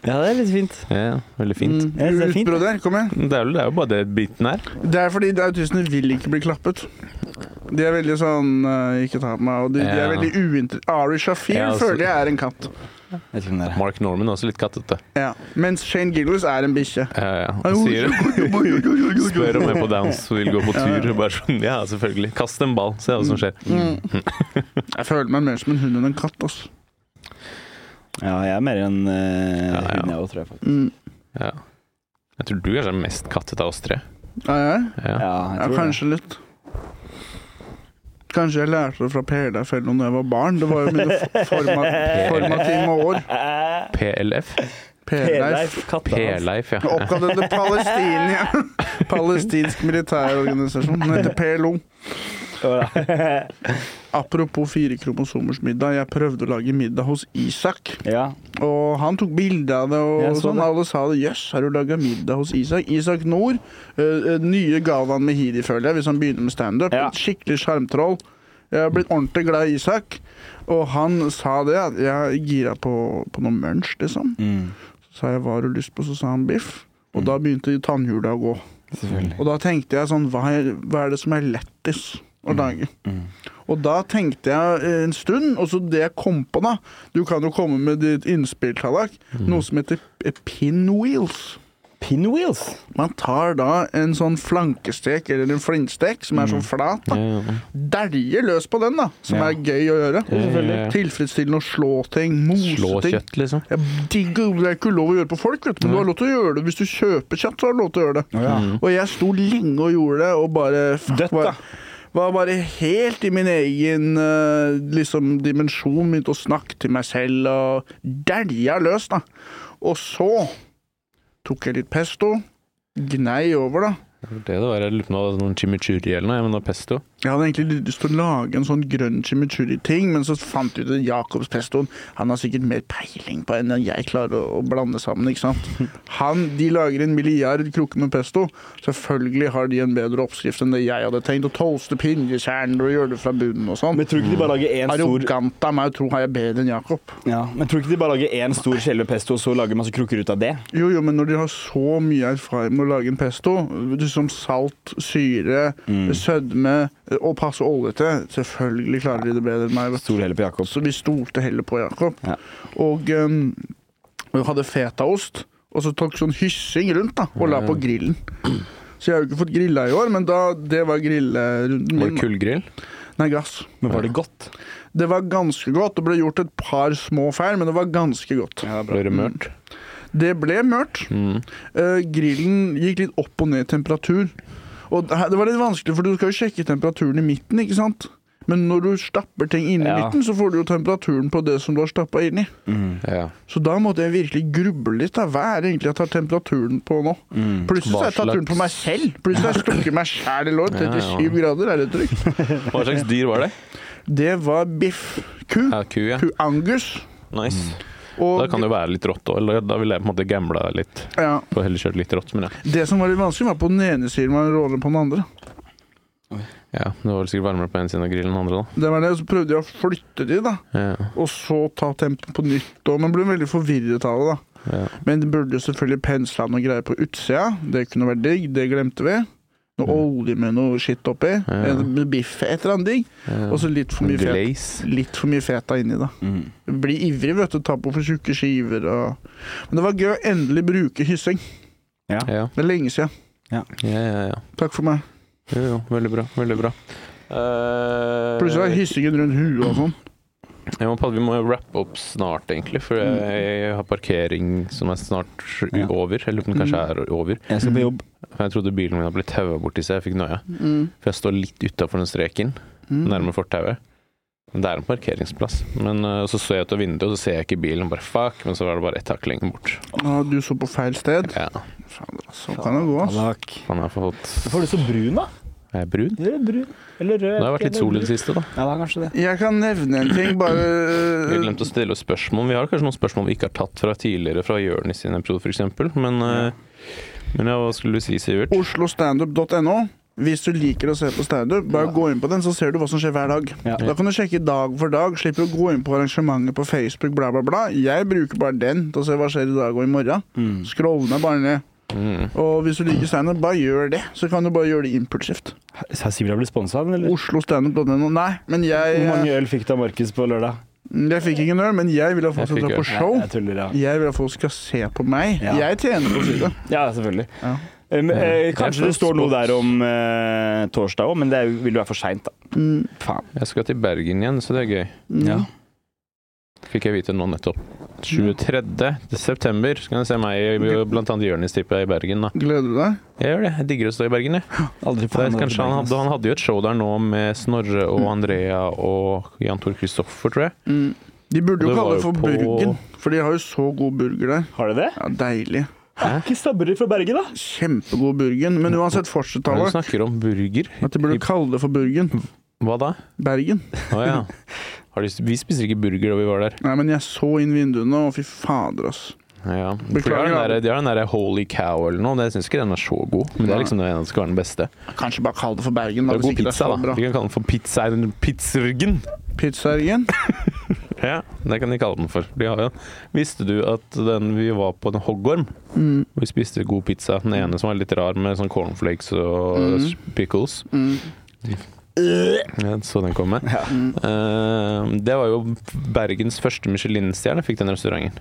S2: Ja, det er litt fint.
S1: Ja, veldig fint.
S3: Mm.
S2: Ja, det er fint.
S3: Utbrudd der, kom igjen.
S1: Det, er vel, det er jo bare det biten her.
S3: Det er fordi autistene vil ikke bli klappet. De er veldig sånn eh, Ikke ta på meg. Og de, de
S1: Ja.
S3: er veldig uinter... Ari Shafir
S1: Ja, altså-
S3: føler jeg er en katt.
S2: Vet ikke hvem det er.
S1: Mark Norman er også litt kattete.
S3: Ja. Mens Shane Gillis er en bikkje.
S1: Ja, ja. Han
S3: Au,
S1: sier,
S3: jo, jo, jo, jo, jo, jo, jo.
S1: spør om jeg på Downs vil gå på tur. Og bare sånn, ja, selvfølgelig. Kast en ball, se hva som
S3: Mm.
S1: skjer.
S3: Jeg føler meg mer som en hund enn en katt. ass.
S2: Ja, jeg er mer enn øh,
S1: Ja, ja.
S2: hun, jeg òg, tror jeg. faktisk.
S3: Mm.
S1: Ja. Jeg tror du kanskje er mest kattete av oss tre.
S3: Er jeg?
S1: Ja.
S2: Ja, jeg
S3: Ja,
S2: tror det.
S3: kanskje litt. Kanskje jeg lærte det fra PLF-fellene da jeg var barn. Det var jo mine f- forma, formative år.
S1: PLF?
S3: PLF.
S2: P-Leif, katta hans.
S1: P-Leif, ja.
S3: Oppkalt etter Palestinia. Palestinsk militærorganisasjon. Den heter PLO. Apropos fire kromosomers middag. Jeg prøvde å lage middag hos Isak.
S2: Ja.
S3: Og han tok bilde av det, og
S2: Jeg så
S3: sånn.
S2: det.
S3: alle sa det. 'Jøss, har du laga middag hos Isak?' Isak Nord. eh, eh, nye Galvan Mehidi, føler jeg, hvis han begynner med standup.
S2: Ja.
S3: Et Skikkelig sjarmtroll. Jeg har blitt ordentlig glad i Isak. Og han sa det, at jeg er gira på, på noe munch, liksom.
S2: Mm.
S3: Så sa jeg 'hva har du lyst på', så sa han biff. Og da begynte tannhjula å gå.
S2: Selvfølgelig.
S3: Og da tenkte jeg sånn, hva er, hva er det som er lettest?
S1: Mm.
S3: å lage. Og da tenkte jeg eh, en stund, og så det jeg kom på da Du kan jo komme med ditt innspill, Tallak.
S1: Mm.
S3: Noe som heter eh, pinwheels.
S2: Pinwheels.
S3: Man tar da en sånn flankestek eller en flintstek som er
S1: Mm.
S3: sånn flat. da Dæljer løs på den, da, som
S2: Ja.
S3: er gøy å gjøre.
S1: Ja, ja, ja.
S3: Tilfredsstillende å slå ting, mose
S1: Slå
S3: ting.
S1: kjøtt, liksom.
S3: Jeg digger, det er ikke lov å gjøre på folk, vet du. men du har lov til å gjøre det hvis du kjøper kjøtt. så har du lov til å gjøre det.
S2: ja.
S3: Og jeg sto lenge og gjorde det, og bare fuck,
S2: Dødt, da.
S3: var, var bare helt i min egen eh, liksom, dimensjon. Begynte å snakke til meg selv og dælja løs, da. Og så tok jeg litt pesto, gnei over, da.
S1: Det det var, jeg lurer på om det var noen chimichurri eller noe, men det var pesto.
S3: Jeg hadde egentlig lyst til å lage en sånn grønn chimichurri-ting, men så fant jeg ut at Jacobs pestoen Han har sikkert mer peiling på enn jeg klarer å, å blande sammen. ikke sant? Han, De lager en milliard krukker med pesto. Selvfølgelig har de en bedre oppskrift enn det jeg hadde tenkt. Å toaste pinjekjerner og gjøre det fra bunnen og sånn.
S2: Men tror du ikke de bare lager én stor
S3: Arrogant av meg å tro har jeg bedre enn Jacob.
S2: Ja, men tror du ikke de bare lager én stor skjelve pesto, og så lager masse krukker ut av det?
S3: Jo, jo, men når de har så mye erfaring med å lage en pesto, som salt, syre,
S2: Mm.
S3: sødme eh, og passe olje til, selvfølgelig klarer de det bedre enn meg. vet du.
S2: Stor heller på Jakob.
S3: Så vi stolte heller på Jakob.
S2: Ja.
S3: Og um, vi hadde fetaost, og så tok sånn hyssing rundt da, og la på grillen. Så jeg har jo ikke fått grilla i år, men da, det var grillerunden
S1: Var det
S3: min.
S1: kullgrill?
S3: Nei, gass.
S2: Men var det godt?
S3: Det var ganske godt. Det ble gjort et par små feil, men det var ganske godt.
S2: Ja, Mm. det er
S1: Ble det mørkt?
S3: Det ble mørkt. Eh, grillen gikk litt opp og ned i temperatur. Og det her- det var litt vanskelig, for du skal jo sjekke temperaturen i midten, ikke sant? Men når du stapper ting inn i
S2: Ja.
S3: midten, så får du jo temperaturen på det som du har stappa inni.
S1: Ja.
S3: Så da måtte jeg virkelig gruble litt. Da. Hva er det egentlig jeg tar temperaturen på nå?
S1: Mm.
S3: Plutselig så har jeg
S1: Hva
S3: tatt
S1: slags-
S3: turen på meg selv. Plutselig har jeg stukket meg sjæl i lår.
S1: Ja, ja.
S3: 37 grader, er det trygt?
S1: Hva slags dyr var det?
S3: Det var biff. Ku.
S1: Ja, ku, ja.
S3: Ku Mm. angus.
S1: Nice. Da
S3: Og
S1: kan det jo være litt rått òg, eller da ville jeg på en måte gambla litt.
S3: ja,
S1: Og heller kjørt litt rått, men ja.
S3: det som var litt vanskelig, var på den ene siden var en råne på den andre.
S1: ja. Det var vel sikkert varmere på den siden av grillen enn den andre,
S3: Det var det, Så prøvde jeg å flytte de, da.
S1: da. Ja.
S3: Og så ta tempen på nytt. Og man ble veldig forvirret av det, da.
S1: Ja.
S3: Men det burde jo selvfølgelig pensla noe greier på utsida. Det kunne vært digg. Det glemte vi. Noe olje med noe skitt oppi.
S1: Mm. Ja.
S3: En- Med biff, et eller annet digg.
S1: Ja.
S3: Og så litt for mye feta.
S1: Glaze.
S3: Litt for mye feta inni, da.
S2: Mm.
S3: Bli ivrig, vet du. Ta på for tjukke skiver og Men det var gøy å endelig bruke hyssing.
S1: Ja.
S3: Det er lenge siden.
S1: Ja, ja, ja.
S3: Takk for meg.
S1: Jo, jo. Veldig bra. Veldig bra. Eh,
S3: Plutselig var hyssingen rundt huet og sånn.
S1: jeg må, vi må wrappe opp snart, egentlig, for jeg, jeg har parkering som er snart
S2: Ja.
S1: over. Jeg lurer på om den kanskje
S3: Mm.
S1: er over.
S2: Jeg skal på jobb.
S1: For jeg trodde bilen min hadde blitt taua borti seg. Jeg fikk noia.
S3: Mm.
S1: For jeg står litt utafor den streken,
S3: Mm.
S1: nærme fortauet. Men Det er en parkeringsplass. Men eh, så så jeg ut av vinduet, og så ser jeg ikke bilen, og bare fuck. Men så var det bare ett hakk lenger bort.
S3: Ah, du så på feil sted.
S1: Ja,
S3: Fader, Sånn kan det gå, ass.
S2: Takk.
S1: han er fått
S2: Får du så brun, da?
S1: Er jeg brun?
S2: Du er brun. Eller rød.
S1: Det har vært litt sol i det siste, da.
S2: Ja, det er kanskje det.
S3: Jeg kan nevne en ting,
S1: Vi
S3: bare
S1: har glemt å stille oss spørsmål. Vi har kanskje noen spørsmål vi ikke har tatt fra tidligere, fra Jørnis sin episode f.eks. Men, eh, men ja, hva skulle du si, Sivert?
S3: oslostandup.no. Hvis du liker å se på standup, bare gå inn på den, så ser du hva som skjer hver dag.
S2: Ja.
S3: Da kan du sjekke dag for dag. Slipper å gå inn på arrangementer på Facebook, bla, bla, bla. Jeg bruker bare den til å se hva skjer i dag og i morgen.
S2: Mm.
S3: Scroll ned bare ned.
S1: Mm.
S3: Og hvis du liker standup, bare gjør det. Så kan du bare gjøre det impulsivt.
S2: Sa Sivert blitt sponsa, eller?
S3: Oslostandup.no. Nei, men
S2: Hvor
S3: jeg eh,
S2: mange øl fikk du av Markus på lørdag?
S3: Jeg fikk ingen øl, men jeg vil at
S1: Jeg
S3: folk skal
S1: fikk
S3: dra på
S1: øl.
S3: show.
S2: Jeg, jeg tuller, ja.
S3: Jeg vil at folk skal se på meg.
S2: Ja.
S3: Jeg tjener på å si det.
S2: Ja, selvfølgelig.
S3: Ja.
S2: Eh, men, eh, kanskje
S1: Jeg
S2: det
S1: får
S2: står noe
S1: spot.
S2: der om eh, torsdag òg, men det er jo- vil jo være for seint, da.
S3: Mm.
S2: Faen.
S1: Jeg skal til Bergen igjen, så det er gøy.
S3: Mm.
S2: Ja.
S1: Fikk jeg vite nå nettopp. 23. september så kan du se meg i- blant annet Jørnis tipper jeg i Bergen. da
S3: Gleder du deg?
S1: Jeg gjør det. Jeg digger å stå i Bergen, jeg.
S2: Aldri
S1: Det er, kanskje han, hadde, han hadde jo et show der nå med Snorre og Andrea og Jan Tor Kristoffer, tror jeg.
S3: Mm. De burde jo
S1: Det var
S3: kalle det
S1: jo
S3: for
S1: på-
S3: Burgen, for de har jo så god burger der.
S2: Har du det?
S3: Ja, Deilig.
S2: Er ikke stabburer fra Bergen, da?
S3: Kjempegod Burgen. Men uansett, fortsett,
S1: Hva er det
S3: Tallak.
S1: du snakker Mm. om? Burger?
S3: At de burde kalle det for Burgen.
S1: Hva da?
S3: Bergen.
S1: Å ja. Har de, vi spiser ikke burger da vi var der.
S3: Nei, men jeg så inn vinduene, og fy fader, ass.
S1: Ja. For de har
S3: Beklager,
S1: den
S3: ja.
S1: der, de har den der Holy Cow eller noe, men jeg syns ikke den er så god. Men det er liksom den som skal være den beste.
S3: Kanskje bare kalle det for
S1: Det
S3: Bergen, da,
S1: er
S3: hvis
S1: god
S3: ikke det er
S1: pizza, da.
S3: så bra.
S1: De kan kalle den for pizza, Pizzergen.
S3: Pizzaergen.
S1: Ja, det kan de kalle den for. De har jo Visste du at den vi var på en hoggorm,
S3: Mm,
S1: og vi spiste
S3: Mm.
S1: god pizza, den ene som var litt rar med sånn cornflakes og
S3: Mhm.
S1: pickles
S3: mm.
S1: Jeg så den komme. Eh, det var jo Bergens første Michelin-stjerne fikk den restauranten.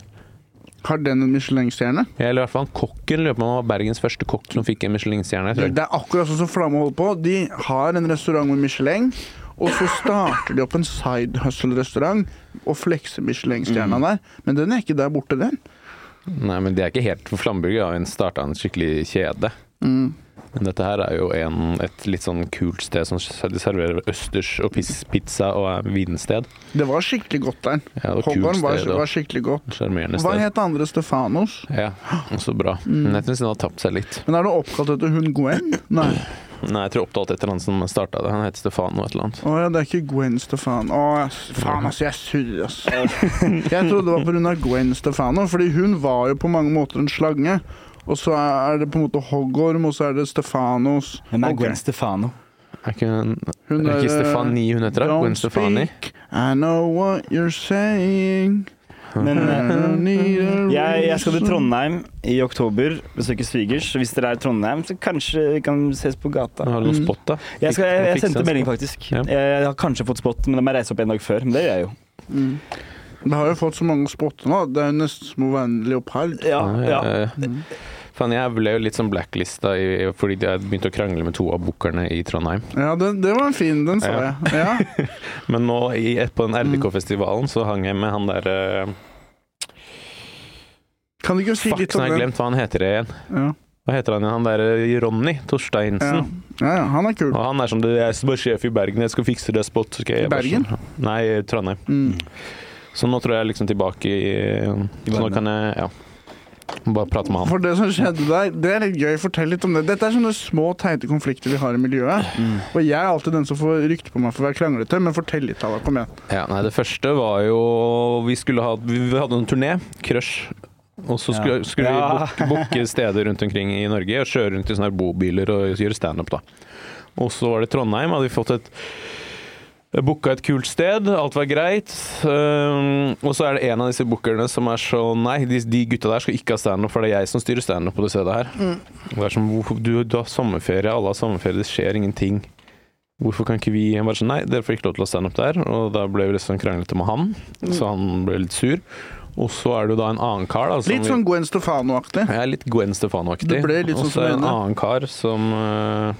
S3: Har den en Michelin-stjerne?
S1: Eller i hvert fall kokken. Lurer på om han var Bergens første kokk som fikk en Michelin-stjerne. jeg tror.
S3: Det er akkurat sånn som Flamme holder på. De har en restaurant med Michelin, og så starter de opp en side hustle-restaurant og flekser
S1: Mm.
S3: Michelin-stjerna der. Men den er ikke der borte, den.
S1: Nei, men det er ikke helt For Flamburger har jo starta en skikkelig kjede.
S3: Mm.
S1: Men dette her er jo en, et litt sånn kult sted som de serverer østers og pis- pizza og er vinsted.
S3: Det var skikkelig godt der.
S1: Ja, det var kult
S3: Hoggorn var,
S1: sted, da.
S3: var skikkelig godt.
S1: Sjarmerende
S3: Hva Mm.
S1: sted.
S3: het det andre? Stefanos?
S1: Ja, så bra. Men jeg syns den har tapt seg litt.
S3: Men er det oppkalt etter hun Gwen? Nei.
S1: Nei, jeg tror opptatt etter han som starta det. Han het Stefano et eller annet.
S3: Å ja, det er ikke Gwen Stefano. Å, ass, faen, altså, jeg surrer, ass. Jeg trodde det var pga. Gwen Stefano, fordi hun var jo på mange måter en slange. Og så er det på en måte hoggorm, og så er det Stefanos.
S2: Hvem er
S3: Ok.
S2: Gwen Stefano?
S1: Er ikke, hun,
S3: Hun
S1: er ikke
S3: er, eh,
S1: Stefani hun heter? da?
S3: Don't
S1: Gwen Stefani?
S3: speak, I know what you're saying.
S2: Men
S3: I
S2: eh,
S3: don't need a
S2: jeg, jeg skal til
S3: reason.
S2: Trondheim i oktober, besøke svigers. Så Hvis dere er i Trondheim, så kanskje vi kan ses på gata.
S1: Har du noen
S3: Mm.
S1: spot, da?
S2: Jeg, skal, jeg, jeg
S1: Fikse en
S2: sendte melding,
S1: spot.
S2: faktisk.
S1: Ja.
S2: Jeg, jeg har kanskje fått spot, men da må jeg reise opp en dag før. Men det gjør jeg jo.
S3: Mm. Det har jo fått så mange spotter nå. Det er jo nesten som å være en leopard.
S2: Ja, ja.
S1: Ja, ja, ja. Faen, jeg ble jo litt sånn blacklista i, fordi jeg begynte å krangle med to av bookerne i Trondheim.
S3: Ja, den, det var en fin. Den sa
S1: Ja.
S3: jeg. Ja.
S1: Men nå i, på den RDK-festivalen så hang jeg med han der eh,
S3: Kan du ikke si
S1: Fuck,
S3: litt
S1: nå
S3: om
S1: har jeg
S3: den?
S1: glemt hva han heter igjen.
S3: Ja.
S1: Hva heter han igjen? Han der eh, Ronny Torsteinsen.
S3: Ja. ja, ja, han er kul.
S1: Og han er som det, jeg er bare sjef i Bergen, jeg skal fikse det spot. så skal jeg
S3: I
S1: bare
S3: Bergen?
S1: sånn- Nei, Trondheim.
S3: Mm. Så
S1: Så nå tror jeg liksom tilbake i, Så nå
S2: verden.
S1: kan jeg ja, bare prate med han.
S3: For det som skjedde der, det er litt gøy. Fortell litt om det. Dette er sånne små, teite konflikter vi har i miljøet.
S1: Mm.
S3: Og jeg er alltid den som får rykte på meg for å være kranglete, men fortell litt, Tala. Kom igjen.
S1: Ja, nei, det første var jo Vi skulle ha Vi hadde en turné, Crush. Og så skulle,
S2: Ja.
S1: skulle
S2: Ja.
S1: vi booke- booke steder rundt omkring i Norge og kjøre rundt i sånne her bobiler og gjøre standup, da. Og så var det Trondheim. Hadde vi fått et Booka et kult sted, alt var greit. Um, og så er det en av disse bookerne som er sånn Nei, de, de gutta der skal ikke ha standup, for det er jeg som styrer standup på det stedet her.
S3: Mm.
S1: Og Det er som, hvorfor- du, du har sommerferie, alle har sommerferie, det skjer ingenting. Hvorfor kan ikke vi Jeg bare sånn, Nei, dere får ikke lov til å ha standup der. Og da ble vi litt sånn kranglete med han,
S3: Mm.
S1: så han ble litt sur. Og så er det jo da en annen kar, da. som
S3: Litt
S1: vi-
S3: sånn Gwen Stefano-aktig.
S1: jeg er litt Gwen Stefano-aktig.
S3: Du ble litt sånn
S1: Og
S3: som
S1: så er det en
S3: henne.
S1: annen kar som eh,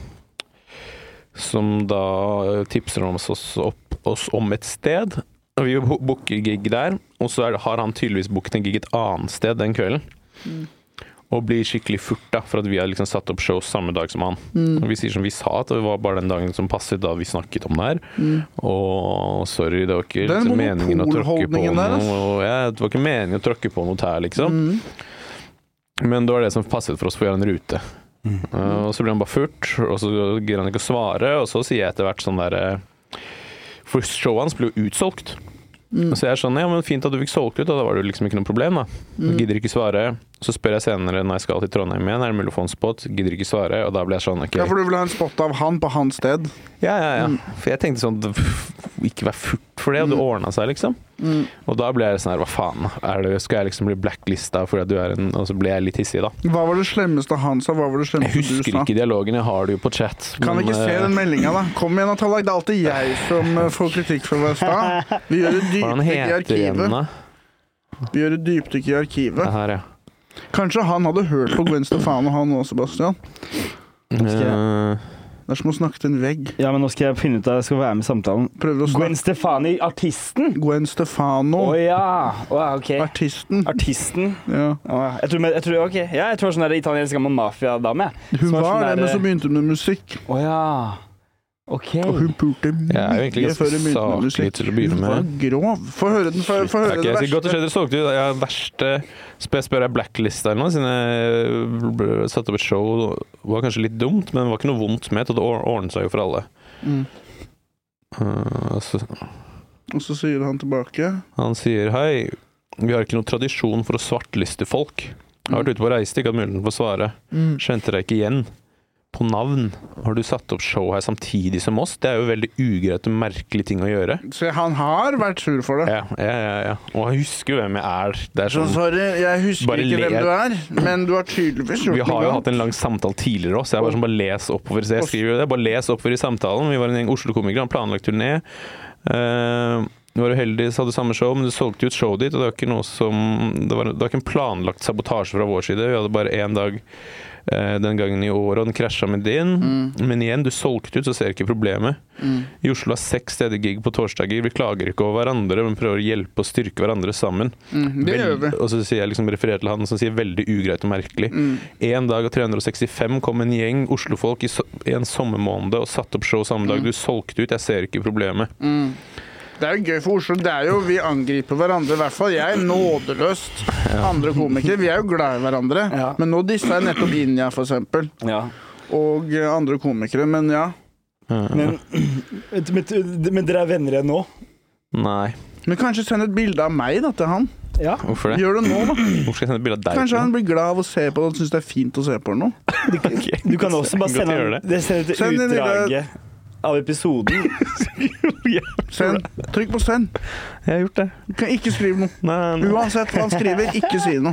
S1: Som da eh, tipser om oss, oss opp, oss om et sted. Og vi bo- booker gig der, og så er det, har han tydeligvis booket en gig et annet sted den kvelden. Og blir skikkelig furta for at vi har liksom satt opp show samme dag som han. Og vi sier som vi sa, at det var bare den dagen som passet da vi snakket om det her. Og sorry, det var ikke
S3: Den
S1: liksom, meningen å tråkke på
S3: monopolholdningen der,
S1: noe.
S3: ass.
S1: Og, ja, det var ikke meningen å tråkke på noe tær, liksom. Men det var det som passet for oss for å gjøre en rute. Uh, og så blir han bare furt, og så gidder han ikke å svare, og så sier jeg etter hvert sånn derre For showet hans ble jo utsolgt. Så jeg er sånn Ja, men fint at du fikk solgt ut, og da var det jo liksom ikke noe problem, da. Gidder ikke svare. Så spør jeg senere når jeg skal til Trondheim igjen, er det mulig å få en spot? Gidder ikke svare, og da blir jeg sånn OK.
S3: Ja, for du vil ha en spot av han på hans sted.
S1: Ja, ja, ja. For jeg tenkte sånn pff, Ikke vær furt for det, og det ordna seg, liksom. Og da ble jeg sånn her, hva faen, er det, skal jeg liksom bli blacklista fordi at du er en Og så ble jeg litt hissig, da.
S3: Hva var det slemmeste han sa? Hva var det
S1: Jeg
S3: slemmeste du
S1: husker
S3: sa?
S1: ikke dialogen, jeg har det jo på chat.
S3: Kan vi
S1: men,
S3: ikke se
S1: eh,
S3: den meldinga, da? Kom igjen, Tallak. Det er alltid jeg som eh, får kritikk for å være sta. Vi gjør et
S1: Hva han
S3: dypdykk
S1: heter
S3: i
S1: igjen,
S3: arkivet.
S1: da?
S3: Vi gjør et dypdykk i
S1: Det
S3: arkivet.
S1: her, ja.
S3: Kanskje han hadde hørt på Gwen Stefano, han òg, Sebastian.
S2: skal
S1: Eh,
S3: Det er som å snakke til en vegg.
S2: ja, men nå skal jeg finne ut av Jeg skal være med i samtalen.
S3: Prøver å
S2: Gwen
S3: snakke
S2: Stefani, artisten?
S3: Gwen
S2: Å
S3: Stefano,
S2: ja. Å, ja, ok.
S3: artisten.
S2: Artisten.
S3: Ja.
S2: Å, ja. jeg, tror, jeg tror ok. Ja, jeg tror det var sånn der italiensk gammel mafiadame. jeg.
S3: Hun
S2: Som
S3: var
S2: sånn
S3: det, men
S2: der-
S3: så begynte hun med musikk.
S2: Å ja. OK.
S3: Og hun pulte
S1: Jeg er jo egentlig
S3: mye før hun begynte med
S1: ganske saklig
S3: musikk.
S1: til å begynne
S3: Hun var
S1: med.
S3: grov. Få høre den, få, få høre
S1: Ok,
S3: det
S1: så godt å
S3: verste.
S1: skje dere solgte ut. Ja, verste Skal jeg spørre, er blacklista eller noe? Siden jeg ble- satte opp et show, det var kanskje litt dumt, men det var ikke noe vondt med det. og Det or- ordnet seg jo for alle.
S3: Mm.
S1: Eh, så,
S3: Og så sier han tilbake.
S1: han sier hei, vi har ikke noen tradisjon
S3: Mm.
S1: for å svartliste folk. Jeg har vært ute på reise, ikke hatt muligheten for å svare. Kjente deg ikke igjen. på navn. Har du satt opp show her samtidig som oss? Det er jo veldig ugreit og merkelig ting å gjøre.
S3: Så han har vært sur for det.
S1: Ja, ja, ja, ja. Og jeg husker jo hvem jeg er. Det er
S3: Så
S1: sånn,
S3: sorry, jeg husker
S1: Bare
S3: ikke
S1: le.
S3: hvem du er, men du har tydeligvis gjort
S1: vi har
S3: noe
S1: jo
S3: galt.
S1: hatt en lang samtale tidligere også. Jeg bare sånn, bare les oppover. Så jeg skriver jo det. Bare les oppover i samtalen. Vi var en gjeng Oslo-komikere, han planlagt turné. Eh, Du var uheldig, så hadde du samme show, men du solgte jo ut showet ditt. Og det var ikke noe som Det var, det var ikke en planlagt sabotasje fra vår side. Vi hadde bare én dag eh, den gangen i året, og den krasja med din.
S3: Mm.
S1: Men igjen, du solgte ut, så ser jeg ikke problemet. I Oslo har seks steder gig på torsdager. Vi klager ikke over hverandre, men prøver å hjelpe og styrke hverandre sammen.
S3: Mm, det gjør vi.
S1: Og så sier jeg liksom refererer til han som sier veldig ugreit og merkelig.
S3: Mm.
S1: En dag av 365 kom en gjeng Oslofolk i, so i en sommermåned og satte opp show samme dag.
S3: Mm.
S1: Du solgte ut, jeg ser ikke problemet.
S3: Det er jo gøy for Oslo. Det er jo, Vi angriper hverandre, i hvert fall jeg, nådeløst. Andre komikere. Vi er jo glad i hverandre.
S2: Ja.
S3: Men nå dissa jeg nettopp Inja, for eksempel.
S2: Ja.
S3: Og eh, andre komikere. Men ja.
S2: Men, men, men dere er venner igjen nå?
S1: Nei,
S3: Men kanskje send et bilde av meg da, til han.
S2: Ja.
S1: hvorfor det?
S3: Gjør det nå, da.
S1: Hvorfor skal jeg sende et bilde av deg? liksom?
S3: Kanskje
S1: til
S3: han blir glad av å se på det og syns det er fint å se på det nå.
S1: Ok.
S2: Du kan også
S1: Godt
S2: bare
S1: å
S2: sende
S1: gjøre
S2: det sender til
S3: Send en lille-
S2: utdraget av episoden.
S3: Send. Trykk på send.
S1: Jeg har gjort det.
S3: Du kan ikke skrive noe.
S1: Nei, nei.
S3: Uansett hva han skriver, ikke si noe.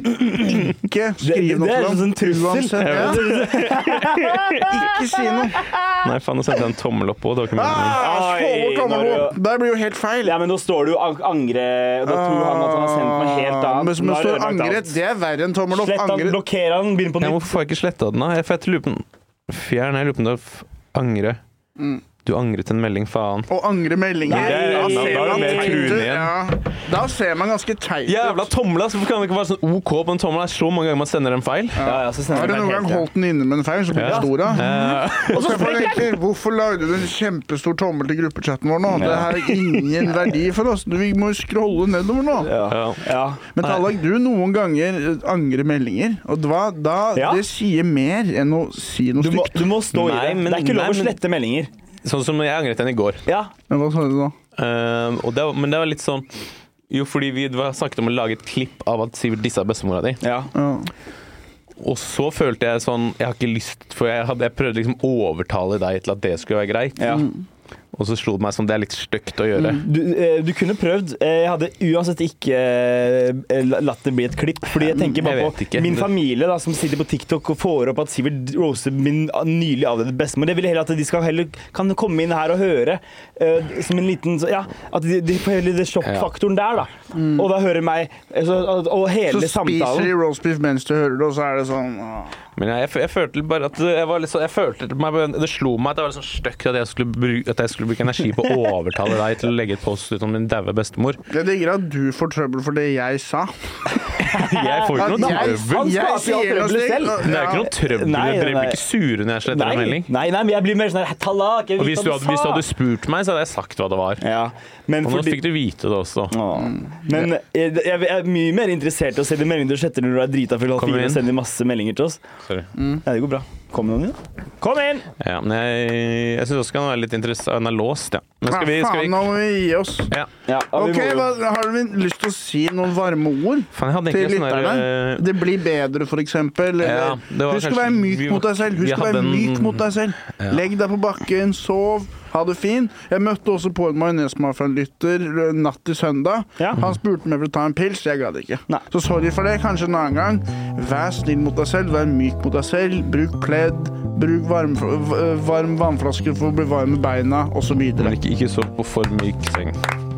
S3: Ikke
S2: Det, det,
S3: skriv noe
S2: det er
S3: til
S2: sånn
S3: ham.
S2: en trussel.
S3: Uansett, ja. Ikke si noe.
S1: nei faen, nå sendte jeg en tommel opp òg. Det var ikke meningen.
S3: Ah,
S2: Oi,
S3: få over tommelen
S2: Mario.
S3: opp. Det blir jo helt feil.
S2: Ja, men nå står det jo ang- angre og Da tror han at han har sendt meg helt
S3: Ah,
S2: av.
S3: Men som
S2: Nå
S3: det
S2: har jeg
S3: står
S2: ødelagt alt.
S3: angret, det er verre enn tommel opp.
S2: Slett han,
S3: Angret.
S2: blokker han, begynn på
S1: Jeg,
S2: nytt.
S1: hvorfor har jeg ikke sletta den, da? Jeg- For jeg lurer på om- Fjern, jeg lurer på om det er f- angre.
S3: Mm.
S1: Du angret en melding, faen.
S3: Å angre meldinger.
S2: Nei,
S3: da,
S2: da
S3: ser
S2: er det
S3: man
S2: mer
S3: teit
S1: truen
S3: ut.
S1: igjen.
S3: Ja. da ser man ganske teit
S1: Jævla
S3: ut.
S1: tommel, ass! Hvorfor kan det ikke være sånn OK på en tommel? Det er så mange ganger man sender en feil.
S2: Ja, ja, så sender
S3: Har du
S2: han
S3: noen
S2: meg
S3: gang
S2: helt, ja.
S3: holdt den inne med en feil, så blir den stor av?
S1: Eh,
S3: Og så får jeg tenker, Hvorfor lagde du en kjempestor tommel til gruppechatten vår nå?
S2: Ja.
S3: Det her er ingen verdi for oss. Vi må jo scrolle nedover nå.
S2: Ja.
S1: ja.
S2: Ja.
S3: Men Tallak, du noen ganger eh, angrer meldinger, og hva da?
S2: Ja.
S3: Det sier mer enn å si noe
S2: Du, må,
S3: stygt.
S2: du må stå
S1: Nei,
S2: i det.
S1: men-
S2: det er ikke lov
S1: nei,
S2: å
S1: men-
S2: slette meldinger.
S1: Sånn som jeg angret den i går.
S2: Ja.
S3: Men hva sa du da?
S1: Eh, og det var, men det var litt sånn Jo, fordi vi var, snakket om å lage et klipp av at Sivert dissa bestemora di.
S2: ja.
S3: Ja.
S1: Og så følte jeg sånn Jeg har ikke lyst For jeg, hadde, jeg prøvde liksom å overtale deg til at det skulle være greit.
S2: ja.
S1: Og så slo det meg sånn Det er litt stygt å gjøre.
S2: Du, eh, du kunne prøvd. Eh, Jeg hadde uansett ikke eh, la- latt det bli et klipp. Fordi jeg tenker bare
S1: Jeg vet
S2: på
S1: ikke.
S2: min
S1: Det-
S2: familie da, som sitter på TikTok og får opp at Sivert roaster min nylig avdøde bestemor. Jeg vil heller at de skal heller kan komme inn her og høre. eh, som en liten så- Ja, at de, de får heller det sjokkfaktoren der, da. Og da hører meg eh, så, Og
S3: Mm. Så
S2: hele
S3: spiser de
S2: samtalen.
S3: roast beef mens du hører det, og så er det sånn ah.
S1: Men jeg, jeg, f- jeg følte bare at jeg var litt sånn jeg følte meg, Det slo meg at det var litt sånn stygt at, jeg skulle bru- at jeg skulle bruke energi på å overtale deg til å legge et post ut om min daue bestemor.
S3: Jeg digger at du får trøbbel for det jeg sa.
S1: Jeg får ikke
S3: At
S1: noe
S3: jeg,
S1: trøbbel.
S2: Han
S3: jeg
S2: skaper jo trøbbel
S3: sier noe stygt.
S2: selv.
S1: Det er ikke noe trøbbel.
S2: Nei, nei,
S1: Dere blir
S2: nei.
S1: ikke sure når jeg sletter
S2: Nei,
S1: en
S2: nei,
S1: melding.
S2: nei, men jeg blir mer sånn her, Talak! Jeg
S1: Og
S2: vil
S1: hvis du, hadde, hvis du hadde spurt meg, så hadde jeg sagt hva det var.
S2: ja, men
S1: Og nå
S2: fordi- Mm.
S1: fikk du vite det også.
S2: Åh. Men jeg, jeg er mye mer interessert i å se de meldingene du sletter når du er drita full halv
S1: Kom
S2: fire og
S1: inn.
S2: sender masse meldinger til oss.
S1: Sorry.
S3: Mm.
S2: Ja, det går bra. Kom noen inn, da. Mm. Kom inn!
S1: Ja, men jeg, jeg syns også det kan være litt interessant. Den er låst, ja. Men
S3: Ja,
S1: skal vi, skal
S3: faen,
S1: vi
S3: nå må vi gi oss.
S1: ja.
S2: Ja, ja, vi må
S3: Ok,
S2: jo-
S3: hva, Har du lyst til å si noen varme ord
S1: Faen, jeg hadde
S3: til
S1: egentlig en sånn
S3: lytterne?
S1: der,
S3: Det blir bedre, for eksempel.
S1: Ja,
S3: Eller,
S1: det var
S3: husk å
S1: kanskje-
S3: være myk
S1: vi-
S3: mot deg selv.
S1: vi
S3: Husk å være
S1: hadde en-
S3: myk mot deg selv. Legg deg på bakken, sov, ha det fint. Jeg møtte også på en majonesmafiaen-lytter eh, natt til søndag.
S2: Ja.
S3: Han spurte om jeg ville ta en pils. Jeg gadd ikke.
S2: Nei.
S3: Så sorry for det. Kanskje en annen gang. Vær snill mot deg selv. Vær myk mot deg selv. Bruk pledd. Bruk varm, v- varm vannflaske for å bli varm i beina, osv.
S1: Men ikke, ikke så på for myk seng.